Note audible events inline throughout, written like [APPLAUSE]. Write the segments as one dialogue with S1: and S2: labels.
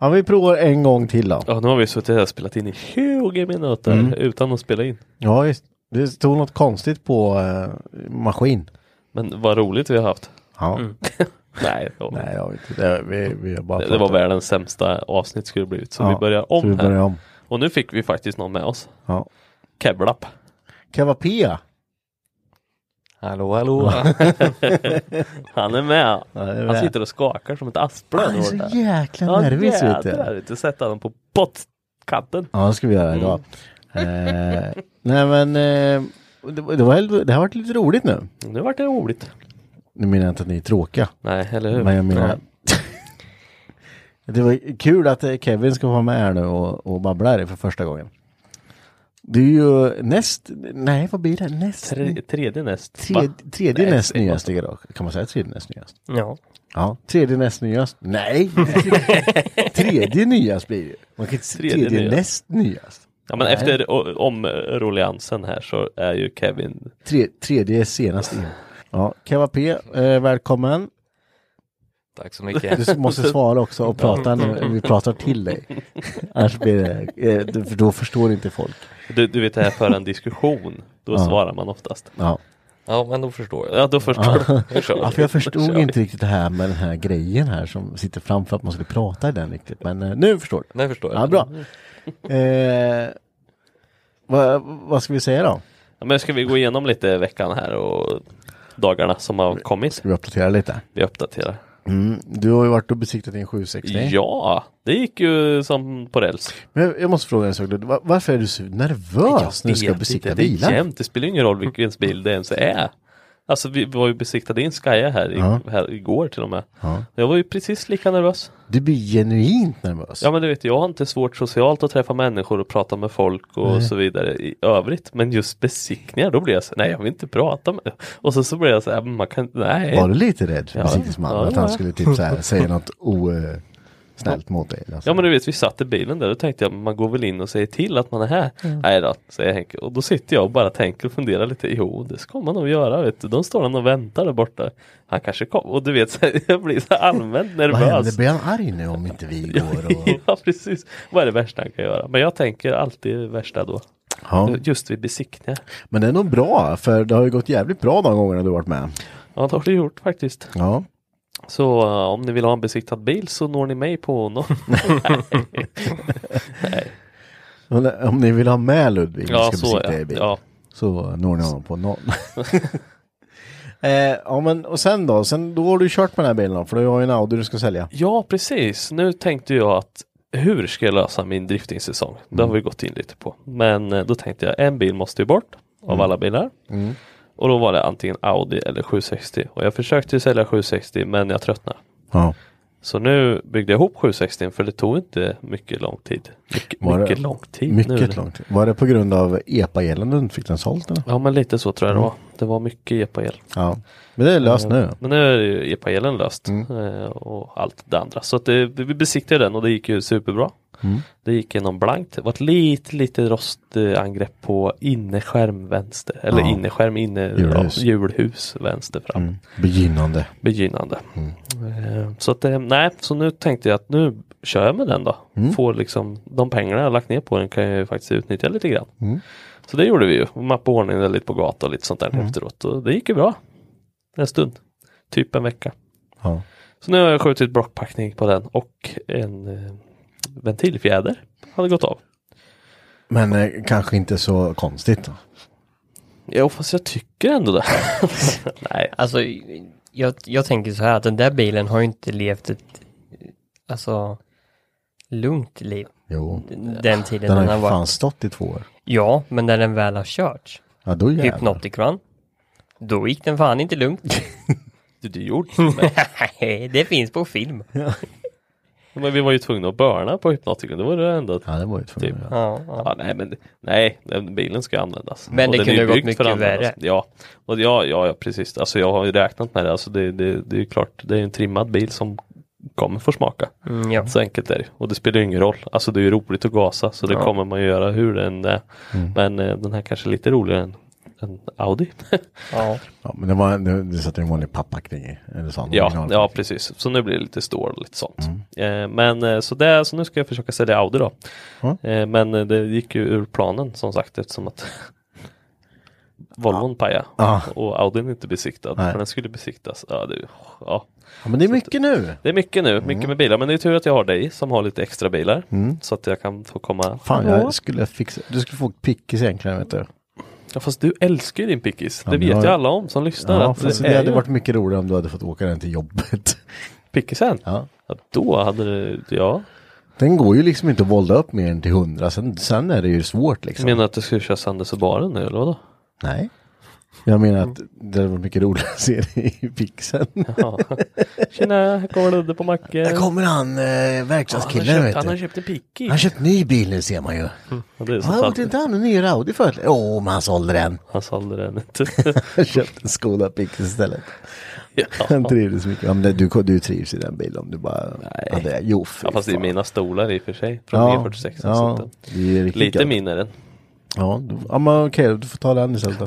S1: Ja, vi provar en gång till då.
S2: Ja, nu har vi suttit här och spelat in i 20 minuter
S1: Mm.
S2: utan att spela in.
S1: Ja, visst. Det stod något konstigt på eh, maskin.
S2: Men vad roligt vi har haft.
S1: Ja.
S2: Nej, [LAUGHS] det var-
S1: Nej, jag vet inte. Det, vi, vi har bara
S2: det, det
S1: pratat.
S2: var världens sämsta avsnitt skulle det blivit. Så
S1: Ja,
S2: vi börjar om
S1: så vi
S2: här.
S1: börjar om.
S2: Och nu fick vi faktiskt någon med oss.
S1: Ja.
S2: Kevlapp.
S1: Kavapea.
S2: Hallå, hallå. [LAUGHS] Han är med.
S1: det är
S2: Han
S1: med.
S2: sitter och skakar som ett asplöv.
S1: Han är
S2: där borta.
S1: så jäkla
S2: Ja,
S1: nervös vet
S2: jädrar,
S1: du.
S2: vet du. Sätta honom på bottkanten.
S1: Ja, det ska vi göra idag.
S2: Mm.
S1: eh, nej men, eh, det, var- det, var, helt- det har varit lite roligt nu.
S2: Nu vart det roligt.
S1: Nu menar jag inte att ni är tråkiga.
S2: Nej, eller hur?
S1: Men jag menar. [LAUGHS] det var kul att eh, Kevin ska vara med här nu och, och babbla här för första gången. Det är ju näst, nej vad blir det? Näst,
S2: Tre, tredje näst.
S1: tredje,
S2: va?
S1: tredje
S2: Nej,
S1: näst
S2: det är
S1: nyaste idag. Kan man säga tredje näst nyaste?
S2: Ja.
S1: Ja, tredje näst nyast.
S2: [LAUGHS]
S1: Nej! tredje nyast blir det ju. Man kan inte säga
S2: Tredje
S1: tredje,
S2: nyast.
S1: näst nyast.
S2: Ja men efter o- omruliansen här så är ju Kevin
S1: Tre, tredje senast in. Ja, Keva P, eh, välkommen.
S3: Tack
S1: [LAUGHS]
S3: så mycket.
S1: Du måste svara också och prata
S2: Mm,
S1: nu. Vi pratar till dig. Annars blir det, eh, du- för då förstår inte folk.
S2: Du, du vet det här för en diskussion
S1: [LAUGHS]
S2: Då svarar man oftast
S1: Ja.
S3: Ja, men då förstår jag.
S2: Ja då förstår du
S1: Ja, för jag förstod inte riktigt det här med den här grejen här som sitter framför att man skulle prata i den riktigt. Men eh, nu förstår du.
S3: Nu förstår jag.
S1: Ja, bra.
S2: Mm.
S1: Eh, vad, vad ska vi säga då?
S2: ja, Men ska vi gå igenom lite veckan här och dagarna som har kommit
S1: Ska vi uppdatera lite?
S2: Vi uppdaterar
S1: Mm, du har ju varit och besiktat din 760.
S2: Ja, det gick ju som på räls
S1: Men jag, jag måste fråga en sak. Ludde. Va- Varför är du så nervös när du ska
S2: vet
S1: besikta
S2: inte, det är
S1: bilar?
S2: jämnt, det spelar ju ingen roll vilken
S3: Mm.
S2: bil det ens är Alltså vi var ju besiktade i en Skya här, i,
S1: Ja.
S2: här igår till och med
S1: Ja.
S2: Jag var ju precis lika nervös
S1: Du blir genuint nervös.
S2: Ja men du vet, jag har inte svårt socialt att träffa människor och prata med folk och så vidare i övrigt. Men just besiktningar, då blir jag så nej jag vill inte prata med Och så, så blir jag så här, "Men man kan, nej.
S1: Var du lite rädd för
S2: Ja.
S1: besiktningsmannen?
S2: Ja,
S1: att han
S2: ja.
S1: skulle typ så här,
S2: [LAUGHS]
S1: säga något osnällt mot dig? alltså? eller så?
S2: Ja men du vet, vi satt i bilen där och tänkte jag, man går väl in och säger till att man är här. Nej då, säger Henke. Och då sitter jag och bara tänker och funderar lite, jo det ska man nog göra vet du. De står han och väntar där borta. Han kanske kom. Och du vet, [LAUGHS] så här, jag blir så här allmänt
S1: Vad händer?
S2: nervös.
S1: Blir han arg nu om inte vi går?
S2: [LAUGHS]
S1: Och...
S2: Ja precis, vad är det värsta han kan göra? Men jag tänker alltid det värsta då.
S1: Ja.
S2: Just vid besiktningar.
S1: Men det är nog bra, för det har ju gått jävligt bra de gångerna du har varit med.
S2: Ja det har det gjort faktiskt.
S1: Ja.
S2: Så eh, om ni vill ha en besiktad bil så når ni mig
S1: [LAUGHS]
S2: på no
S1: Men eh, Om ni vill ha med Ludvig när ni
S2: Ja,
S1: ska
S2: så
S1: besikta
S2: ja.
S1: er bil,
S2: ja.
S1: så når ni honom på noll. [LAUGHS] eh, ja, men och sen då? Sen då har du kört med den här bilen då, för du har ju en Audi du ska sälja.
S2: ja, precis. Nu tänkte jag att hur ska jag lösa min driftingsäsong? Det
S1: Mm.
S2: har vi gått in lite på. Men eh, då tänkte jag en bil måste ju bort av
S1: Mm.
S2: alla bilar. Och då var det antingen Audi eller 760. Och jag försökte ju sälja 760 men jag tröttnade.
S1: Ja.
S2: Så nu byggde jag ihop 760 för det tog inte mycket lång tid. Mycket,
S1: Var det-
S2: mycket lång tid. nu.
S1: Mycket långt. Var det på grund av epa-elen du inte fick den såld eller?
S2: Ja men lite så tror
S1: Mm.
S2: jag det var. Det var mycket E epa-el.
S1: Ja. Men det är löst nu.
S2: Men nu är ju epa-elen löst
S1: Mm.
S2: eh, och allt det andra. Så att det, vi besiktade den och det gick ju superbra.
S1: Mm.
S2: Det gick igenom blankt. Det var ett lite, lite rostangrepp på inneskärm vänster. Eller
S1: Ja.
S2: inneskärm, inne,
S1: Hjulhus.
S2: julhus. Ja, julhus vänster fram.
S1: Mm. Begynnande.
S2: Begynnande. Eh, Så att eh, nej, så nu tänkte jag att nu kör jag med den då. Får liksom de pengarna jag har lagt ner på den kan jag ju faktiskt utnyttja lite grann. Så det gjorde vi ju. Mappade ordning den lite på gatan och lite sånt där efteråt. Och det gick ju bra. En stund. Typ en vecka.
S1: Ja.
S2: Så nu har jag skjutit blockpackning på den och en eh, ventilfjäder hade gått av.
S1: Men eh, kanske inte så konstigt. Då.
S2: Jo, fast jag tycker ändå det. [LAUGHS] nej,
S4: Alltså, jag, jag tänker så här att den där bilen har ju inte levt ett, alltså, lugnt liv.
S1: Jo.
S4: Den tiden
S1: Den har
S4: den,
S1: ju
S4: har
S1: för fan
S4: varit.
S1: stått i två år.
S4: Ja, men när den väl har kört.
S1: Ja då jävlar.
S4: Hypnotic Run. Då gick den fan
S1: [LAUGHS]
S4: inte lugnt.
S2: det, det gjorde
S4: [LAUGHS] Nej, det finns på film.
S2: Men vi var ju tvungna att börna på hypnotikon. Det var det enda.
S1: Ja det var ju tvungen.
S2: Typ.
S1: Typ.
S4: Ja, ja.
S2: Ja, nej, men det- nej, den bilen ska användas.
S4: Men
S2: Och
S4: det
S2: den är ju
S4: kunde ha gått
S2: byggd
S4: mycket
S2: för att användas.
S4: värre.
S2: Ja, och ja, ja, ja, precis. Alltså jag har ju räknat med det. Alltså det, det, det är ju klart, det är ju en trimmad bil som kommer få smaka.
S4: Mm, ja.
S2: Så enkelt är det. Och det spelar ju ingen roll. Alltså det är ju roligt att gasa så det
S4: Ja. Mm.
S2: kommer man ju göra hur den är. Men eh, den här kanske är lite roligare än, än Audi.
S4: ja.
S1: Ja, men det var, det, det satt ju en vanlig papppackning i. Eller så, en
S2: ja,
S1: original- Mm.
S2: ja, precis. Så nu blir det lite stål och lite sånt. Eh, men eh, så, det, så nu ska jag försöka sälja Audi då.
S1: Ja.
S2: Eh, men eh, det gick ju ur planen som sagt eftersom att [LAUGHS] Volvon pajade
S1: Ja.
S2: och Audin inte besiktad.
S1: Nej.
S2: Men den skulle besiktas. Ja, det, ja.
S1: ja men det är mycket nu.
S2: det är mycket nu,
S1: Mm.
S2: mycket med bilar. Men det är tur att jag har dig som har lite extra bilar. Så att jag kan få komma
S1: Fan jag skulle fixa. Du skulle få pickis egentligen vet du.
S2: Ja fast du älskar ju din pickis.
S1: Ja,
S2: det
S1: men
S2: vet
S1: jag-
S2: ju alla om som lyssnar.
S1: Ja,
S2: att
S1: fast
S2: alltså, det
S1: det
S2: är
S1: hade
S2: ju
S1: varit mycket roligare om du hade fått åka den till jobbet. [LAUGHS]
S2: pickisen.
S1: Ja.
S2: Ja, då hade det, ja.
S1: Den går ju liksom inte att volda upp mer än till 100. Sen, sen är det ju svårt liksom.
S2: Menar du att du skulle köra Sanders och Baren nu eller vadå?
S1: Nej. Jag menar att det hade varit mycket roligare att se det i pixeln.
S2: Ja. Tjena, här kommer Ludde på macken.
S1: Där kommer han, eh, verkstadskillen vet
S2: han har
S1: du.
S2: köpt en pickis.
S1: Han har köpt ny bil nu ser man ju.
S2: Ja, det är
S1: Han har
S2: så
S1: gjort inte han en ny Audi förut? Jo,
S2: oh,
S1: men han sålde den.
S2: han sålde den [LAUGHS] inte.
S1: Han köpte en Skoda Pix istället.
S2: ja.
S1: Han trivdes mycket. Ja, men det- du, du trivs i den bilen om du bara
S2: Nej.
S1: hade... Jo, fy
S2: ja fast det är
S1: fan.
S2: mina stolar i och för sig. Från E46.
S1: ja,
S2: så att den-
S1: det är riktigt
S2: Lite
S1: gött.
S2: min är den.
S1: Ja, du, ja men okej, du får ta den istället. då.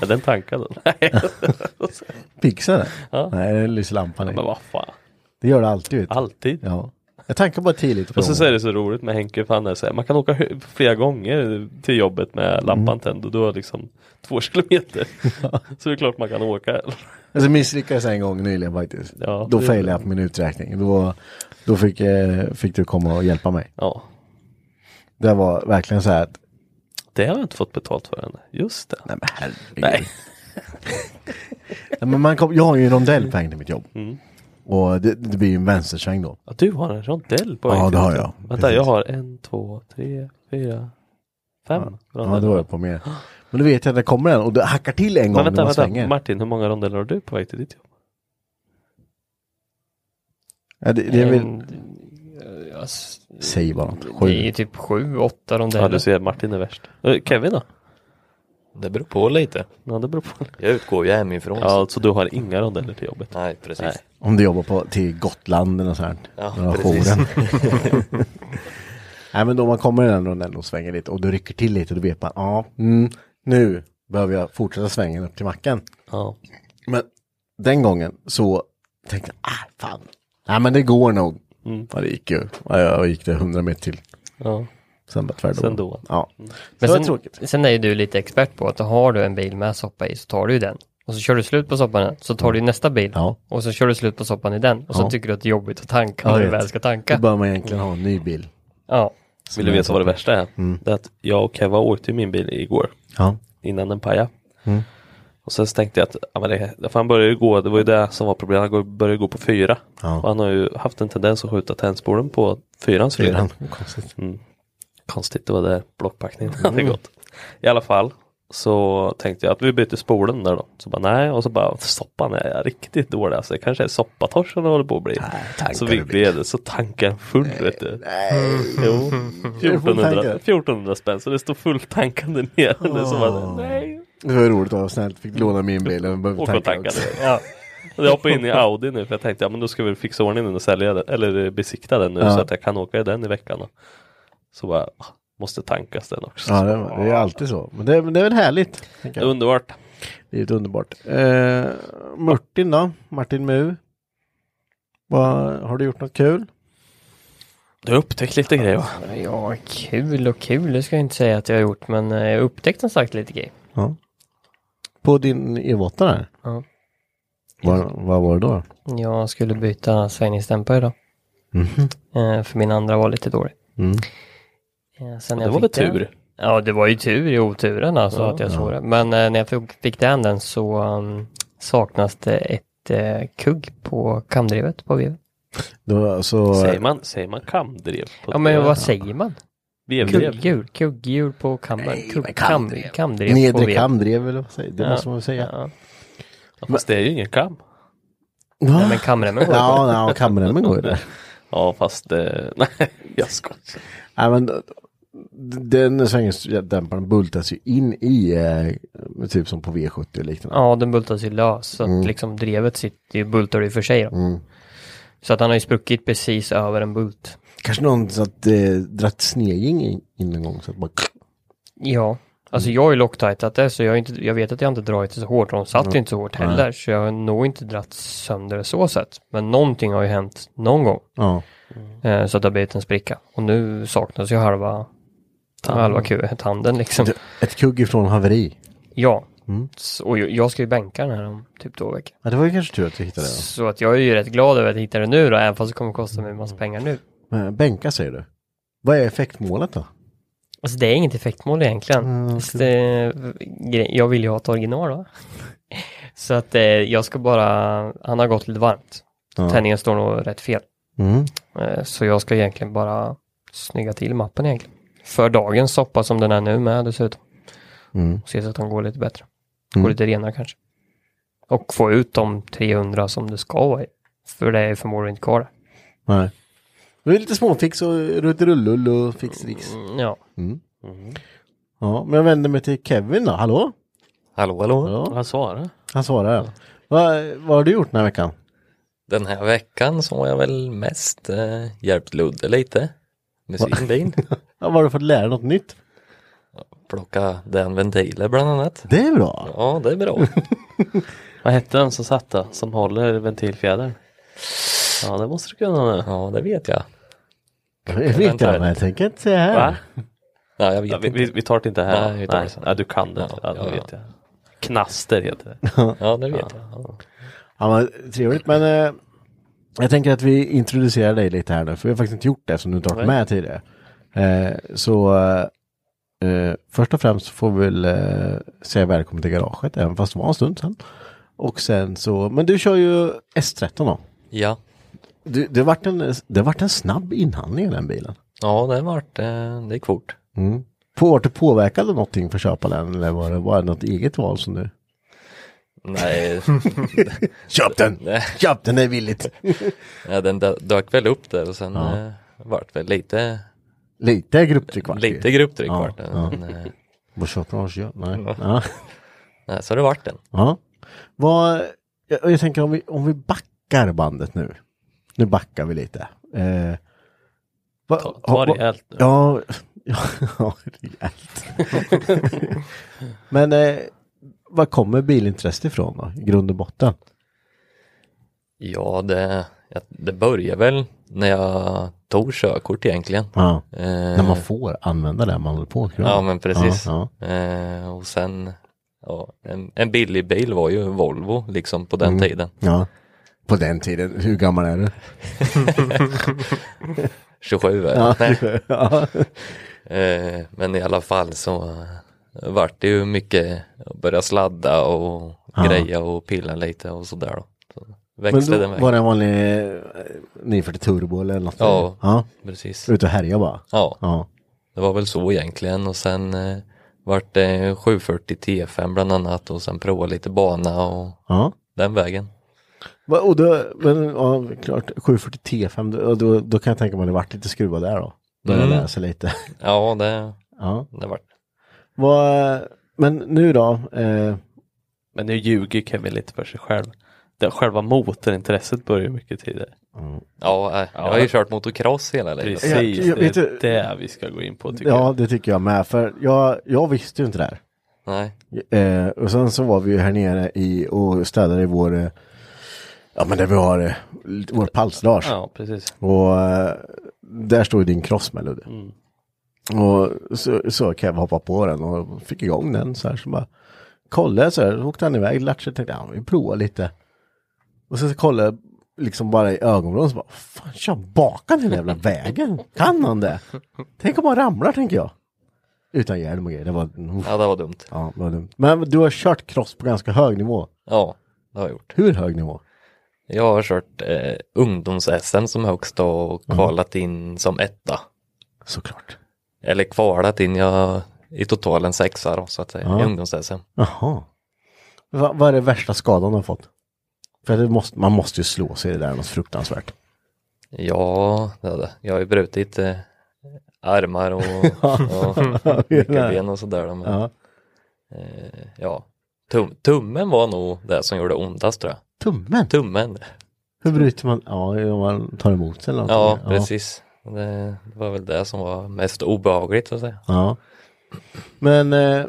S2: Ja, den tankade. Nej,
S1: Pixar den?
S2: Ja.
S1: Nej, det lyser lampan i.
S2: men vad fan.
S1: Det gör det alltid vet du.
S2: Alltid.
S1: Ja. Jag tankar bara tidigt på
S2: Och sen
S1: dem.
S2: så är det så roligt med Henke för han är så här, man kan åka hö- flera gånger till jobbet
S1: Mm.
S2: med lampan tänd och då är liksom två [LAUGHS] kilometer. så det är klart man kan åka.
S1: Alltså misslyckades en gång nyligen faktiskt.
S2: Ja,
S1: då
S2: det-
S1: failade jag på min uträkning. Då, då fick, eh, fick du komma och hjälpa mig.
S2: Ja,
S1: Det var verkligen så här att,
S2: det har jag inte fått betalt för än. Just det.
S1: nej men herregud.
S2: Nej.
S1: [LAUGHS] Nej, men man kom, jag har ju en rondell på väg till mitt jobb.
S2: Mm.
S1: Och det, det blir ju en vänstersväng då.
S2: Ja, du har en rondell på
S1: Ja,
S2: väg till
S1: det har
S2: jobbet.
S1: jag.
S2: Vänta,
S1: Precis.
S2: jag har en, två, tre, fyra, fem
S1: Ja, det var jag på mer. Men då vet jag att det kommer en och det hackar till en gång
S2: Men
S1: när
S2: vänta,
S1: man
S2: vänta.
S1: svänger.
S2: Martin, hur många rondeller har du på väg till ditt jobb?
S1: Ja, det, det är
S2: Mm.
S1: väl...
S4: En- ja, s-
S1: Säg bara något.
S4: det är ju
S1: Sju.
S4: typ sju, åtta
S2: Ja, du
S4: rondeller.
S2: ser, Martin är värst. Eh, Kevin då?
S3: Det beror på lite.
S2: Ja, det beror på.
S3: Jag utgår ju hemifrån.
S2: Ja, så du har inga rondeller till jobbet?
S3: Nej, precis.
S2: Nej.
S1: Om du jobbar på, till Gotland eller något sånt.
S3: Ja,
S1: Några
S3: precis.
S1: jouren. [LAUGHS] Nej men då man kommer i den rondellen och svänger lite och du rycker till lite, då vet man, ja, mm, nu behöver jag fortsätta svängen upp till macken.
S2: Ja.
S1: Men den gången så tänkte jag, ah, fan, nej men det går nog. Ja, det gick ju, ja, jag gick det 100 meter till.
S2: ja.
S1: Sen bara tvärdom.
S2: Sen då.
S1: Ja.
S4: Men
S1: det var
S4: sen,
S1: tråkigt.
S4: sen är ju du lite expert på att har du en bil med soppa i så tar du ju den. Och så kör du slut på soppan så tar du ju nästa bil.
S1: Ja.
S4: Och så kör du slut på soppan i den. Och så
S1: Ja.
S4: tycker du att det är jobbigt att tanka
S1: Jag
S4: när du
S1: vet.
S4: väl ska
S1: Då
S4: tanka.
S1: bör man egentligen ha en ny bil.
S4: Ja.
S2: Vill du veta vad det värsta är? Det är att jag och Keva åkte i min bil igår
S1: Ja.
S2: innan den pajade.
S1: Mm.
S2: Och sen tänkte jag att ja, men det, för han började ju gå, det var ju det som var problemet, han går- började gå på fyra.
S1: Ja.
S2: Och han har ju haft en tendens att skjuta tändspolen på fyrans
S1: Det är
S2: fyra. Mm.
S1: den. Konstigt. Mm.
S2: Konstigt, det var där blockpackningen hade gått. I alla fall, Så tänkte jag att vi byter spolen där då. Så bara nej, och så bara soppan är riktigt dålig alltså. Det kanske är soppatorsk som det håller på att bli. så vi blev det, så tanken full vet du.
S1: [LAUGHS]
S2: Jo, 1400, 1400 spänn, så det står fulltankande ner. Det är som att, nej,
S1: Det var roligt att vara snällt. Fick låna min bil. Jag behöver
S2: åka och
S1: tanka
S2: tanka
S1: också.
S2: det. [LAUGHS] Ja. Jag hoppade in i Audi nu för jag tänkte ja men då ska vi fixa ordning den och sälja den, eller besikta den nu
S1: Ja.
S2: så att jag kan åka i den i veckan. Då. Så bara, ah, måste tankas den också.
S1: Ja, det, det är alltid så. Men det, men det är väl härligt. tänker jag.
S2: Underbart.
S1: Livet är underbart. Eh, Martin då? Martin Mu? Vad, har du gjort något kul?
S2: Du har upptäckt lite grejer va?
S4: Ja, kul och kul, det ska jag inte säga att jag har gjort, men eh, jag har upptäckt som sagt lite grejer.
S1: På din E8 där?
S4: Ja.
S1: Vad, vad var det då?
S4: Jag skulle byta svängningsdämpare idag,
S1: Mhm.
S4: eh, för min andra var lite dålig.
S1: Mm.
S4: Eh, Sen
S2: Det
S4: jag
S2: var väl
S4: fick den-
S2: tur.
S4: Ja, det var ju tur i oturen alltså att jag
S1: ja.
S4: såg det. Men eh, när jag fick, fick den den så um, saknas det ett eh, kugg på kamdrivet på veven.
S1: Då, så,
S2: Säger man, säger man kamdrev? På
S4: Ja, men vad säger man?
S2: Vevdrev?
S4: Kugghjul, kugghjul på kamdrivet.
S1: Nej,
S4: Kugg,
S1: men
S4: kam,
S1: kamdrev.
S4: kamdrivet på
S1: Nedre
S4: veven.
S1: kamdrev eller vad säger Det
S4: Ja.
S1: måste man väl säga.
S4: Ja.
S2: Ja, Fast det är ju ingen kam.
S4: Nej,
S1: Va?
S4: men kamremmen går
S1: [LAUGHS]
S4: på.
S1: Ja, ja, kamremmen går ju där.
S2: Ja fast, eh, [LAUGHS] nej jag skojar.
S1: Nej, men d- den svängningsdämparen bultas ju in i, eh, typ som på V70 och liknande.
S4: Ja, den bultas ju lös. Så att
S1: Mm.
S4: liksom drevet sitter ju, bultar ju för sig då. Så att han har ju spruckit precis över en bult.
S1: Kanske någon så att eh, dratt snedgäng in in en gång så att bara...
S4: Ja, alltså
S1: Mm.
S4: jag har ju locktajtat det så jag, har inte, jag vet att jag inte dragit det så hårt och de satt ju inte så hårt heller så jag har nog inte dratt sönder det så sett. Men någonting har ju hänt någon gång
S1: Ja.
S4: eh, så att det har blivit en spricka och nu saknas ju halva halva ku- tanden liksom.
S1: D- Ett kugg ifrån haveri.
S4: Ja,
S1: Mm.
S4: S- och jag, jag ska ju bänka den här om typ två veckor.
S1: Ja, det var ju kanske tur att du hittade det.
S4: Så att jag är ju rätt glad över att hitta den nu då, även fast det kommer kosta mig en
S1: Mm.
S4: massa pengar nu.
S1: Men Bänka säger du. Vad är effektmålet då?
S4: Alltså det är inget effektmål egentligen.
S1: Mm,
S4: Så det, gre- jag vill ju ha ett original va? [LAUGHS] Så att eh, jag ska bara, han har gått lite varmt.
S1: Ja.
S4: Tändningen står nog rätt fel.
S1: Mm.
S4: Eh, så jag ska egentligen bara snygga till mappen egentligen. För dagens soppa som den är nu med dessutom.
S1: Mm.
S4: Se så att den går lite bättre.
S1: Mm.
S4: Går lite renare kanske. Och få ut de 300 som det ska vara i. För det är förmodligen inte kvar där.
S1: Nej. Det är lite småfix och rutterullull och fixrix.
S4: Mm, ja.
S1: Ja, men jag vänder mig till Kevin då. Hallå?
S3: Hallå, hallå.
S1: Ja,
S2: Vad svarar
S1: han svarar. Ja. Vad, vad har du gjort den här veckan?
S3: Den här veckan så har jag väl mest eh, hjälpt Ludde lite med sin bil.
S1: Ja, vad har du fått lära dig något nytt?
S3: Plocka den ventiler bland annat.
S1: Det är bra.
S3: Ja, det är bra.
S2: Vad hette den som satt då? Som håller ventilfjädern? Ja det måste du kunna nu.
S3: Ja, det vet jag.
S1: Det vet jag, men jag tänker inte säga
S2: Va?
S1: här.
S3: Ja, jag vet
S2: Ja, vi,
S3: inte.
S2: vi, vi tar det inte här.
S3: Nej,
S2: Nej,
S3: vi tar det sen.
S2: ja, du kan det.
S3: Ja,
S2: Ja, det
S3: ja,
S2: vet jag. Knaster heter
S1: [LAUGHS]
S2: det.
S3: Ja, det vet jag.
S1: Ja, men, trevligt, men eh, jag tänker att vi introducerar dig lite här nu, för vi har faktiskt inte gjort det som du inte har varit
S2: Nej.
S1: med tidigare. Eh, så eh, eh, först och främst får vi väl eh, säga välkommen till garaget, även fast det var en stund sedan. Och sen så, men du kör ju S13 då.
S3: Ja,
S1: Du, det, har varit en, det har varit en snabb inhandling i den bilen.
S3: ja det vart, eh, det gick fort.
S1: På, var du påverkad av någonting för att köpa den eller var det bara något eget val som du?
S3: Nej,
S1: Köp den! Köp den, det är billigt!
S3: ja, den dö- dök väl upp där och sen eh, vart väl lite,
S1: Lite grupptryck vart det ju.
S3: lite grupptryck
S1: Ja,
S3: vart det. Men, eh,
S1: Vad köper man? Ja, Nej. Ja.
S3: nej, så det vart den.
S1: Ja. Vad, jag, jag tänker om vi, om vi backar bandet nu. Nu backar vi lite. Eh, va,
S2: Ta, ta
S1: va-
S2: rejält nu.
S1: Ja, [LAUGHS] ja, ja rejält. [LAUGHS] Men eh, var kommer bilintresset ifrån då, i grund och botten?
S3: Ja, det, ja, det började väl när jag tog körkort egentligen.
S1: Ja.
S3: Eh,
S1: När man får använda det man håller på med.
S3: Ja, men precis.
S1: Ja,
S3: Eh, och sen, ja, en, en billig bil var ju Volvo liksom på den
S1: Mm. [LAUGHS]
S3: tiden.
S1: ja, ja. På den tiden, hur gammal är du?
S3: [LAUGHS] 27 är
S1: Ja,
S3: jag. Nej.
S1: ja.
S3: Eh, Men i alla fall så eh, vart det ju mycket att börja sladda och
S1: Ja.
S3: greja och pilla lite och sådär då. Så
S1: Men
S3: växte
S1: då
S3: den vägen.
S1: var det en vanlig eh, 940 turbo eller något?
S3: Ja.
S1: ja.
S3: Precis.
S1: Ut och härja bara?
S3: Ja,
S1: Ja.
S3: det var väl så egentligen och sen eh, Vart eh, 740 T5 bland annat och sen prova lite bana och
S1: Ja.
S3: den vägen.
S1: Va- Och då, men, ja, klart, 740 T5, då, då, då kan jag tänka mig att det varit lite skruvad där då. Börja
S3: Mm.
S1: läsa lite.
S3: Ja, det,
S1: Ja.
S3: det vart.
S1: Vad, men nu då, eh,
S2: Men nu ljuger Kevin lite för sig själv. Det själva motorintresset börjar ju mycket tidigare.
S3: Ja, eh, jag har ju kört motocross hela livet.
S2: Precis,
S1: jag- jag vet
S2: det är
S1: ju-
S2: det vi ska gå in på tycker
S1: ja det tycker jag med, för jag, jag visste ju inte det här.
S3: Nej.
S1: Eh, och sen så var vi ju här nere i, och städade i vår, eh, ja men där vi har eh, vår
S2: jag.
S1: palslage.
S2: Ja, precis.
S1: Och eh, där stod ju din cross med Ludde.
S2: Mm.
S1: Och så, så kan jag hoppa på den och fick igång den så här. Så bara kollade jag så här, så åkte han iväg, lärde sig, tänkte ja, vi provar lite. Och sen så kollade jag liksom bara i ögonvrån så bara, fan kör han bakan hela jävla vägen? Kan han det? Tänk om han ramlar tänker jag. Utan hjälm och grejer, det var,
S3: Ja, det var dumt.
S1: ja, det var dumt. Men du har kört cross på ganska hög nivå.
S3: Ja, det har jag gjort.
S1: Hur hög nivå?
S3: Jag har kört eh, ungdoms-SM som högsta och kvalat in som etta.
S1: Såklart.
S3: Eller kvalat in, jag i totalen sexa då, så att säga, i
S1: Ja.
S3: ungdoms-SM.
S1: Jaha. Va, vad är det värsta skadan du har fått? För det måste, man måste ju slå sig, det där är något fruktansvärt.
S3: Ja, det hade. jag har ju brutit eh,
S1: [LAUGHS]
S3: armar och, och nyckelben och sådär. då, Men,
S1: Ja.
S3: eh, ja. Tum, tummen var nog det som gjorde ondast tror jag.
S1: Tummen?
S3: Tummen,
S1: Alltså, Hur bryter man? Ja, om man tar emot sig eller något.
S3: ja precis. Det var väl det som var mest obehagligt så att säga.
S1: Ja. Men eh,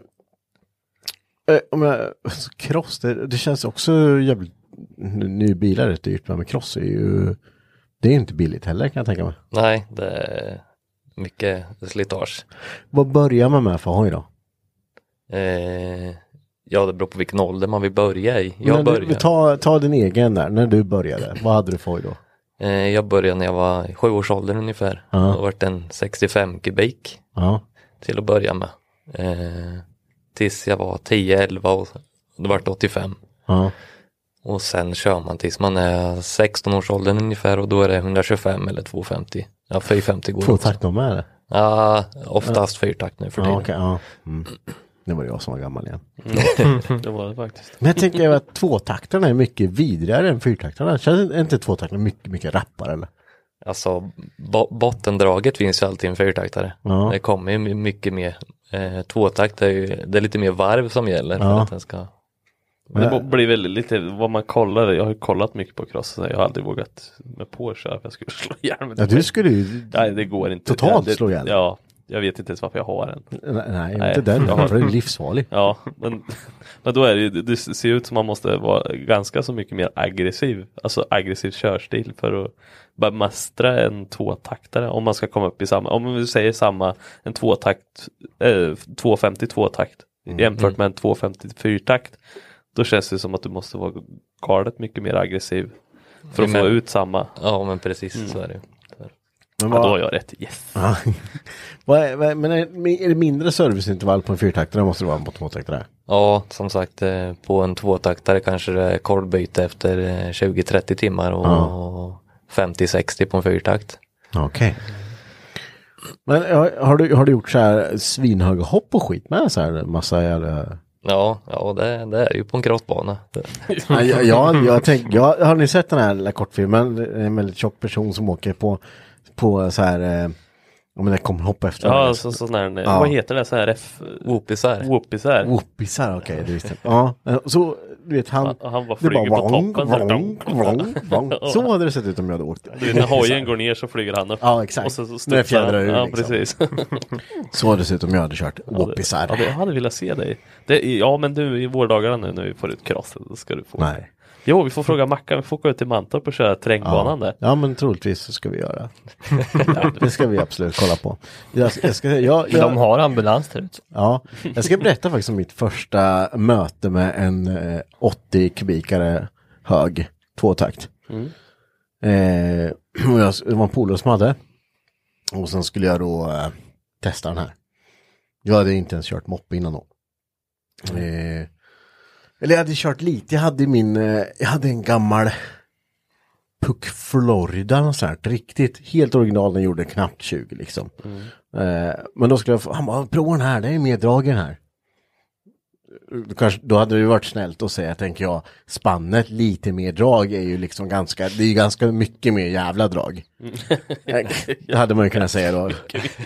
S1: eh, om jag, alltså, cross, det, det känns också jävligt, nu nu är bilar rätt dyrt, men cross är ju, det är ju inte billigt heller kan jag tänka mig.
S3: Nej, det är mycket slitage.
S1: Vad börjar man med för hoj då?
S3: Eh, ja, det beror på vilken ålder man vill börja i.
S1: Men
S3: Jag
S1: du-
S3: började,
S1: ta, ta din egen där, när du började, vad hade du för hoj då?
S3: eh, jag började när jag var i sjuårsåldern ungefär.
S1: Ja.
S3: Då vart det en 65 kubik
S1: Ja.
S3: till att börja med. Eh, tills jag var 10-11 och då vart det 85.
S1: Ja.
S3: Och sen kör man tills man är 16-årsåldern ungefär och då är det 125 eller 250. Ja, 450 går också.
S1: Tvåtakt de med eller?
S3: Ja, oftast fyrtakt nu för
S1: Ja,
S2: Typ.
S3: tiden.
S1: okej, ja. Mm. Det var jag som var gammal igen. Mm.
S2: Det var det faktiskt.
S1: Men jag tänker att tvåtaktarna är mycket vidrigare än fyrtaktarna. Känns är inte tvåtaktarna mycket, mycket rappare eller?
S3: Alltså bo- bottendraget finns ju alltid i en fyrtaktare.
S1: Ja.
S3: Det kommer ju my- mycket mer. Eh, tvåtakt är ju, det är lite mer varv som gäller för
S1: Ja.
S3: att den ska.
S2: Men
S1: Äh.
S2: det blir väl lite vad man kollar. Jag har ju kollat mycket på cross. och så Jag har aldrig vågat med på att köra. för Jag skulle [LAUGHS] slå ihjäl mig.
S1: Ja, du skulle ju...
S2: Nej, det går inte.
S1: Totalt
S2: Det- det-
S1: slå ihjäl.
S2: Ja, jag vet inte ens varför jag har en.
S1: Nej, nej,
S2: Nej.
S1: inte den.
S2: Ja.
S1: För den är livsfarlig.
S2: Ja, men, [LAUGHS] men då är det ju, det ser ut som man måste vara ganska så mycket mer aggressiv, alltså aggressiv körstil för att bara mastra en tvåtaktare om man ska komma upp i samma, om vi säger samma, en tvåtakt, eh, 250 tvåtakt jämfört med en 250 fyrtakt, då känns det som att du måste vara galet mycket mer aggressiv för att få
S3: Men-
S2: ut samma.
S3: Ja men precis så är det ju.
S1: Men
S2: Ja, då har
S1: vad,
S2: jag rätt, yes!
S1: ja. [LAUGHS] vad är, vad är, men är, är det mindre serviceintervall på en fyrtaktare måste det vara på en tvåtaktare?
S3: Ja som sagt eh, på en tvåtaktare kanske det är kolvbyte efter eh, 20-30 timmar och, och 50-60 på en fyrtakt.
S1: Okej. Men ja, har du, har du gjort så här svinhöga hopp och skit med så här massa jävla...
S3: Ja, ja det, det är ju på en crossbana. Det-
S1: Nej, jag, jag,
S2: [LAUGHS]
S1: jag tänk, jag, har ni sett den här lilla kortfilmen? Det är En väldigt tjock person som åker på, på så här, eh, om det kommer hoppa efter
S2: Ja,
S1: varandra.
S2: så, sån här,
S1: Ja.
S2: vad heter det, så här F...
S3: Whoopisar.
S2: Whoopisar.
S1: Whoopisar, okej, det visste jag. Ja, eh, så du vet han.
S2: Han- han bara
S1: det
S2: flyger på toppen, så här,
S1: vrong, vrong,
S2: [LAUGHS]
S1: vrong. Så hade det sett ut om jag hade åkt.
S2: Du vet, när hojen går ner så flyger han upp.
S1: Ja, exakt.
S2: Och så, så
S1: När det
S2: studsar han.
S1: fjädrar ur,
S2: Ja,
S1: liksom.
S2: precis. [LAUGHS]
S1: Så hade det sett ut om jag hade kört
S2: Ja, det, jag
S1: whoopisar.
S2: hade velat se dig. Det, är- ja, men du i vårdagarna nu när vi får ut crossen, då ska du få.
S1: Nej.
S2: Jo, vi får fråga Mackan, vi får gå ut till Mantorp och köra terrängbanan där.
S1: Ja men troligtvis så ska vi
S2: [LAUGHS]
S1: göra. Det ska vi absolut kolla på. Jag, jag, ska, jag,
S4: Men de
S1: jag,
S4: har ambulans där ute.
S1: ja, jag ska berätta faktiskt om mitt första möte med en eh, 80 kubikare hög tvåtakt. Eh, [CLEARS THROAT] och jag, det var en polare som hade. Och sen skulle jag då eh, testa den här. Jag hade inte ens kört moppe innan då. Eh, eller jag hade kört lite, jag hade min, eh, jag hade en gammal Puck Florida något sånt här, riktigt, helt original, den gjorde knappt 20 liksom. Eh, men då skulle jag, få- han bara, prova den här, det är mer drag i den här. då, kanske, då hade det ju varit snällt att säga, tänker jag, spannet lite mer drag är ju liksom ganska, det är ju ganska mycket mer jävla drag. Det hade man ju kunnat säga då.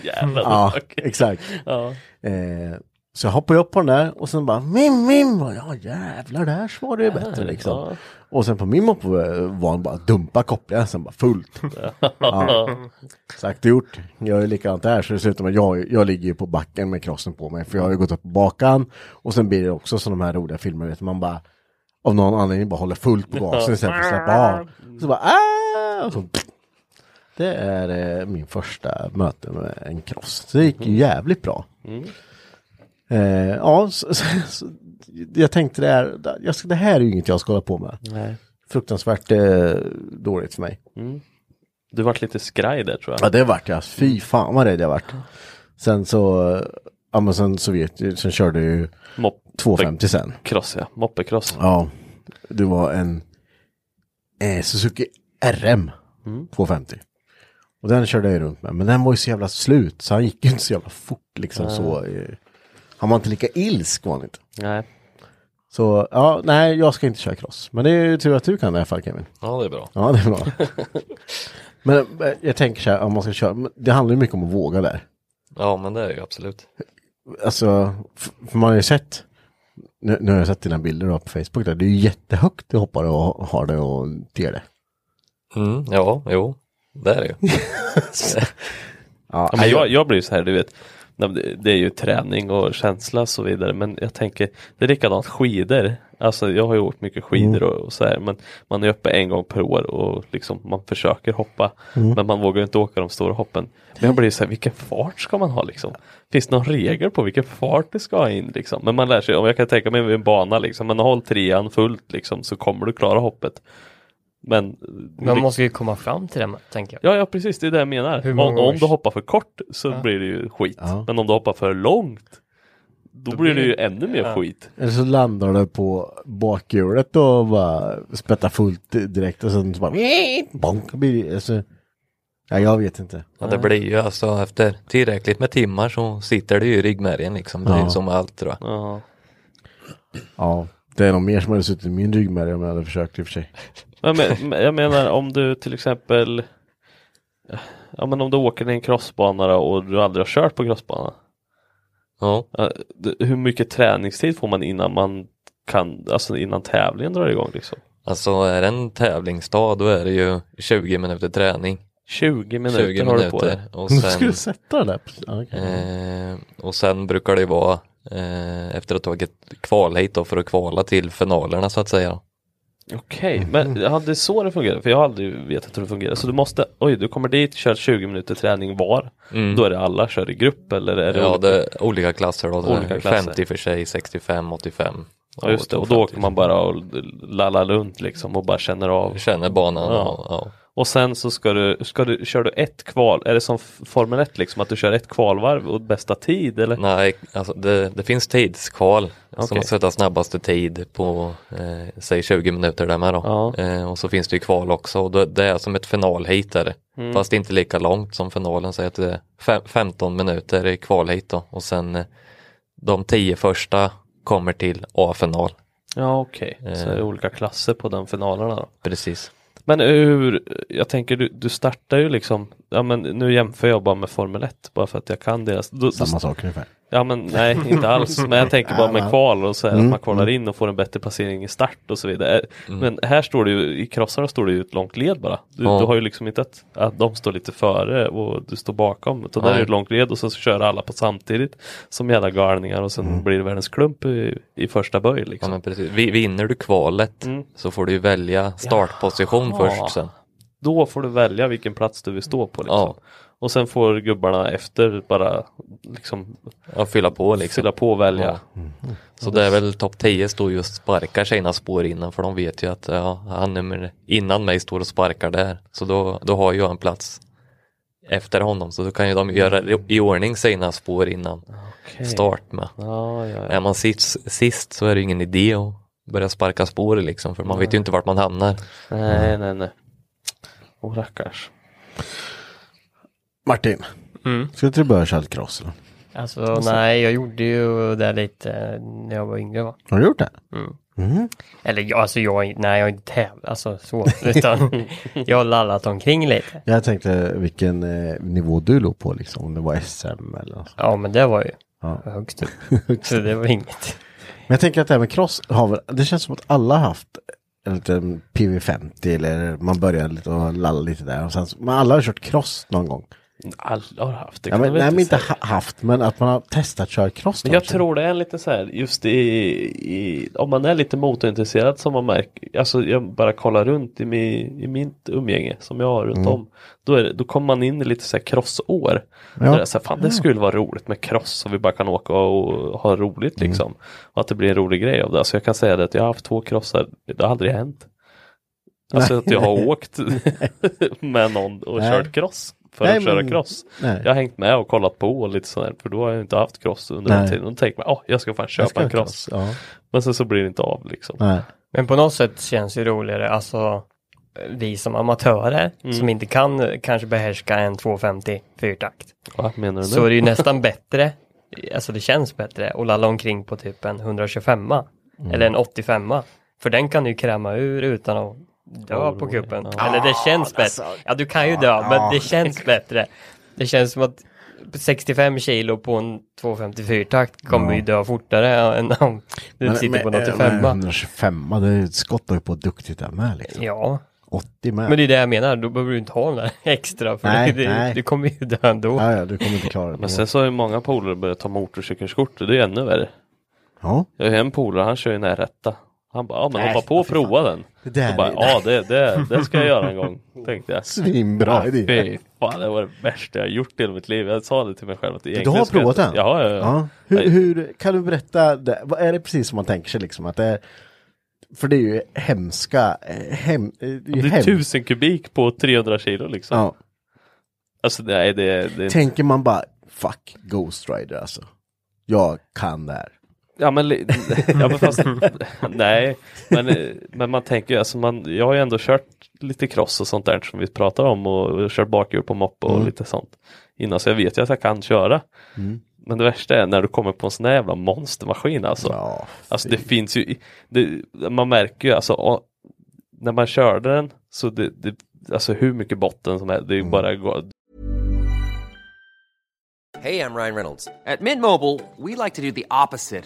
S2: Jävlar. [LAUGHS]
S1: Ja, exakt.
S2: Ja.
S1: Eh, så jag hoppade upp på den där och sen bara mim, mim, och ja jävlar det här svarar ju bättre liksom.
S2: Äh, ja.
S1: Och sen på min moppe var han bara dumpa kopplingen, sen bara
S2: [LAUGHS]
S1: fullt. ja. Sagt och gjort, jag är likadant där så det slutar med att jag, jag ligger ju på backen med krossen på mig för jag har ju gått upp på bakan och sen blir det också som de här roliga filmerna vet du, man bara av någon anledning bara håller fullt på gasen istället för att släppa av. Så bara "Ah!" och så, Det är eh, min första möte med en kross. Så det gick ju jävligt bra. Eh, ja, så, så, så, jag tänkte det här, jag, ska- det här är ju inget jag ska hålla på med.
S2: Nej.
S1: Fruktansvärt eh, dåligt för mig.
S2: Du vart lite skraj där tror
S1: Ja,
S2: jag.
S1: det vart jag. Fy fan vad rädd jag vart. Sen så, eh, ja men sen så vet jag, sen körde jag ju
S2: Mopp-
S1: 250 sen.
S2: Cross ja, moppekross.
S1: Ja, det var en eh, Suzuki RM 250. Och den körde jag ju runt med, men den var ju så jävla slut så han gick ju inte så jävla fort liksom så. Eh, han var inte lika ilsk var han inte.
S2: Nej.
S1: Så ja, nej, jag ska inte köra cross. Men det är ju tur att du kan det i alla fall Kevin.
S3: Ja, det är bra.
S1: Ja, det är bra. men eh, jag tänker så här, om man ska köra, men det handlar ju mycket om att våga där.
S3: Ja, men det är ju absolut.
S1: Alltså, f- för man har ju sett, nu, nu har jag sett dina bilder då på Facebook där, det är ju jättehögt du hoppar och har det och ter det.
S3: Mm, ja, jo, det är det ju.
S1: Ja,
S2: Ja, men jag, jag blir ju så här, du vet. när det- Det är ju träning och känsla och så vidare. Men jag tänker, det är likadant skidor. Alltså jag har ju åkt mycket skidor och, och så här. Men man är uppe en gång per år och liksom man försöker hoppa. Men man vågar ju inte åka de stora hoppen. Men jag blir ju så här, vilken fart ska man ha liksom? Finns det någon regel på vilken fart du ska ha in liksom? Men man lär sig, om jag kan tänka mig vid en bana liksom. Men håll trean fullt liksom så kommer du klara hoppet. Men
S4: Man måste ju komma fram till det, med, tänker jag.
S2: Ja, ja precis, det är det jag menar.
S4: Hur
S2: Om,
S4: många
S2: om
S4: års-
S2: du hoppar för kort så blir det ju skit.
S1: Ja.
S2: Men om du hoppar för långt då, blir det ju ännu mer skit.
S1: Eller så landar du på bakhjulet och bara spettar fullt direkt och sen så bara bonk. blir det- Alltså, ja, jag vet inte.
S3: Ja, det blir ju alltså efter tillräckligt med timmar så sitter det ju i ryggmärgen liksom. Det är
S1: Ja.
S3: ju som med allt tror jag.
S2: Ja.
S1: Ja, det är nog mer som hade suttit i min ryggmärg om jag hade försökt i och för sig.
S2: Men, jag men, jag menar om du till exempel Ja men om du åker i en crossbana då och du aldrig har kört på crossbana.
S3: Ja,
S2: eh, d- Hur mycket träningstid får man innan man kan, alltså innan tävlingen drar igång liksom?
S3: alltså är det en tävlingsdag då är det ju 20 minuter träning.
S2: 20 minuter
S3: 20
S2: har du på dig.
S3: minuter och
S1: Nu ska
S3: sen
S1: du sätta det där. på- ja, okej.
S3: Eh, och sen brukar det ju vara eh, efter att ha tagit kvalhit då för att kvala till finalerna så att säga.
S2: Okej, men ja, det är så det fungerar. För jag har aldrig vetat hur det fungerar. Så du måste, oj du kommer dit, kör 20 minuter träning var. Då är det alla kör i grupp eller är det
S3: ja,
S2: olika?
S3: det är olika klasser då. Det är
S2: Olika klasser.
S3: 50 för sig, 65, 85.
S2: Ja, just det. Och då åker man bara och lallar runt liksom och bara känner av.
S3: Känner banan.
S2: Ja.
S3: Och, ja.
S2: Och sen så ska du, ska du, kör du ett kval, är det som f- Formel 1 liksom att du kör ett kvalvarv och bästa tid eller?
S3: Nej, alltså det, det finns tidskval. Så
S2: Okej.
S3: man sätter snabbaste tid på eh, säg 20 minuter där med då.
S2: Ja.
S3: Eh, och så finns det ju kval också och det, det är som ett finalheat är det. Fast inte lika långt som finalen, säg att det är fem, 15 minuter i kvalheat då. Och sen eh, de 10 första kommer till A-final.
S2: Ja okej, så är det olika klasser på de finalerna då.
S3: Precis.
S2: Men hur, jag tänker du, du startar ju liksom, ja men nu jämför jag bara med Formel 1 bara för att jag kan deras. Då, då
S1: Samma sak ungefär.
S2: Ja men nej inte alls. Men jag tänker bara med kval och så här
S3: Mm,
S2: att man kvalar in och får en bättre placering i start och så vidare. Men här står det ju, i krossarna står det ju ett långt led bara. Du,
S3: Ja.
S2: du har ju liksom inte att, att de står lite före och du står bakom. Utan det är
S3: Nej.
S2: ju ett långt led och så kör alla på samtidigt som jävla galningar och sen blir det världens klump i, i första böj
S3: Mm. Ja,
S2: liksom.
S3: men precis. Vi- Vinner du kvalet så får du ju välja startposition
S2: Jaha.
S3: först sen.
S2: Då får du välja vilken plats du vill stå på liksom.
S3: Ja.
S2: Och sen får gubbarna efter bara liksom,
S3: Ja, fylla på liksom.
S2: fylla på och välja.
S3: Ja. Så det är väl topp 10 står just sparkar sina spår innan för de vet ju att ja, han nummer innan mig står och sparkar där. Så då, då har ju jag en plats efter honom så då kan ju de göra i- i ordning sina spår innan start med.
S2: Ja, ja, ja.
S3: Är man sist, sist så är det ju ingen idé att börja sparka spår liksom för man vet ju inte vart man hamnar.
S2: Nej, nej, nej. Åh rackars.
S4: Mm.
S1: Martin, ska inte du börja köra lite cross? Eller?
S4: Alltså nej, jag gjorde ju det lite när jag var yngre va.
S1: Har du gjort det?
S4: Mm.
S1: Mm.
S4: Eller jag, alltså jag, har inte- nej jag har inte tävlat, alltså så, utan jag har lallat omkring lite.
S1: Jag tänkte vilken eh, nivå du låg på liksom, om det var SM eller något.
S4: Ja men det var ju
S1: Ja.
S4: högst upp, så det var inget.
S1: Men jag tänker att det här med cross har väl, det känns som att alla har haft en liten PV50 eller man börjar lite och lallar lite där och sen, så- men alla har kört cross någon gång.
S2: Alla har haft det.
S1: Ja,
S2: kan
S1: men,
S2: jag
S1: nej
S2: väl
S1: men inte
S2: säga.
S1: ha, haft, men att man har testat att köra cross.
S2: Men jag
S1: kanske.
S2: tror det är en liten så här, just i, i om man är lite motorintresserad som man märker, alltså jag bara kollar runt i, min, i mitt umgänge som jag har runt
S1: Mm.
S2: om, då, är det, då kommer man in i lite så här crossår.
S1: Ja.
S2: Ja. Det, är så här, fan, det skulle vara roligt med cross så vi bara kan åka och ha roligt
S1: Mm.
S2: liksom. Och att det blir en rolig grej av det. Så jag kan säga det att jag har haft två krossar, det har aldrig hänt. Alltså att jag
S1: [LAUGHS]
S2: har åkt [LAUGHS] med någon och
S1: Nej.
S2: kört cross för
S1: Nej,
S2: att köra
S1: men-
S2: cross.
S1: Nej.
S2: Jag har hängt med och kollat på och lite sådär för då har jag inte haft cross under
S1: Nej.
S2: den tiden. Och då tänker man, åh jag ska fan
S1: Jag
S2: köpa
S1: ska
S2: en
S1: ha
S2: cross.
S1: Ja.
S2: Men sen så blir det inte av liksom.
S1: Nej.
S4: Men på något sätt känns det ju roligare, alltså vi som amatörer som inte kan eh, kanske behärska en 250 fyrtakt.
S2: Vad menar du
S4: Så
S2: nu?
S4: är det ju nästan bättre, alltså det känns bättre att lalla omkring på typ en 125
S1: Mm.
S4: eller en 85 För den kan du ju kräma ur utan att dö
S1: Oh,
S4: på kuppen. Eller det känns bättre.
S1: alltså,
S4: Ja du kan ju dö men det känns bättre. Det känns som att 65 kilo på en 254 takt kommer ju dö fortare än om du
S1: Men-
S4: sitter
S1: men-
S4: på en
S1: eh,
S4: 85
S1: men 125 det skottar ju på duktigt där med liksom.
S4: Ja,
S1: 80 med.
S4: men det är det jag menar. Då behöver du inte ha den där [LAUGHS] extra för
S1: Nej,
S4: det, det,
S1: nej.
S4: du kommer ju dö ändå.
S1: ja, ja, du kommer inte klara det.
S2: Men sen så har ju många polare börjat ta motorcykelskort och det är ännu värre.
S1: ja.
S2: Jag har ju en polare, han kör ju närrätta. Han bara, ja men
S1: Nej,
S2: hoppa på och
S1: fy fan.
S2: prova den.
S1: Det där
S2: Då bara,
S1: är-
S2: ja det, det, det ska jag göra
S1: [LAUGHS]
S2: en gång, tänkte jag.
S1: Svinbra
S2: Ah,
S1: idé.
S2: Fy fan, det var det värsta jag har gjort i hela mitt liv. Jag sa det till mig själv. Att
S1: Du har provat den?
S2: Ja, ja, ja.
S1: Hur, hur, kan du berätta, det? vad är det precis som man tänker sig liksom? Att det är, för det är ju hemska, eh, hem, eh, det är ju
S2: Det är
S1: hemskt.
S2: tusen kubik på 300 kilo liksom.
S1: Ja.
S2: Alltså nej, det, det,
S1: Tänker man bara, fuck Ghost Rider alltså. Jag kan det här.
S2: Ja
S1: [LAUGHS]
S2: men, li- ja, men fast, nej, men, eh, men man tänker ju, alltså man, jag har ju ändå kört lite cross och sånt där som vi pratar om och, och kört bakhjul på moppe och
S1: Mm.
S2: lite sånt innan så jag vet ju att jag kan köra. Men det värsta är när du kommer på en sån här jävla monstermaskin alltså.
S1: Ja,
S2: Alltså det finns ju, i- det, man märker ju alltså å- när man körde den så det, det alltså hur mycket botten som helst, det är ju
S1: Mm.
S2: bara gå-
S5: Hey, I'm Ryan Reynolds. At Mint Mobile, we like to do the opposite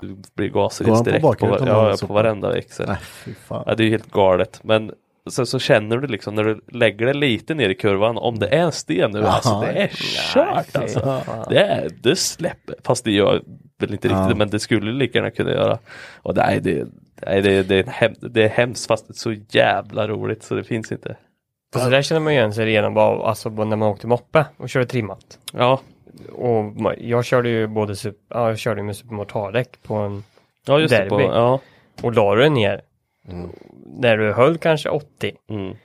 S2: du blir gasig
S1: Går han på
S2: direkt på,
S1: bakhjulet
S2: var,
S1: om han
S2: ja,
S1: så-
S2: på varenda växel.
S1: Nej, fy fan.
S2: Ja, det är ju helt galet. Men sen så känner du liksom när du lägger det lite ner i kurvan, om det är en sten nu, alltså det är kört alltså. Det, är, det släpper, fast det gör väl inte riktigt, men det skulle lika gärna kunna göra. Och nej, det, nej, det, det, är, en hem, det är hemskt fast det är så jävla roligt så det finns inte.
S4: Alltså där känner man ju igen sig redan bara, alltså bara när man åkte moppe och körde trimmat.
S2: Ja,
S4: Och ma- jag körde ju både sup- ja, jag körde ju med supermotardäck på en
S2: ja just det. På,
S4: Derby.
S2: ja.
S4: och la du den ner. När du höll kanske 80.
S2: Mm.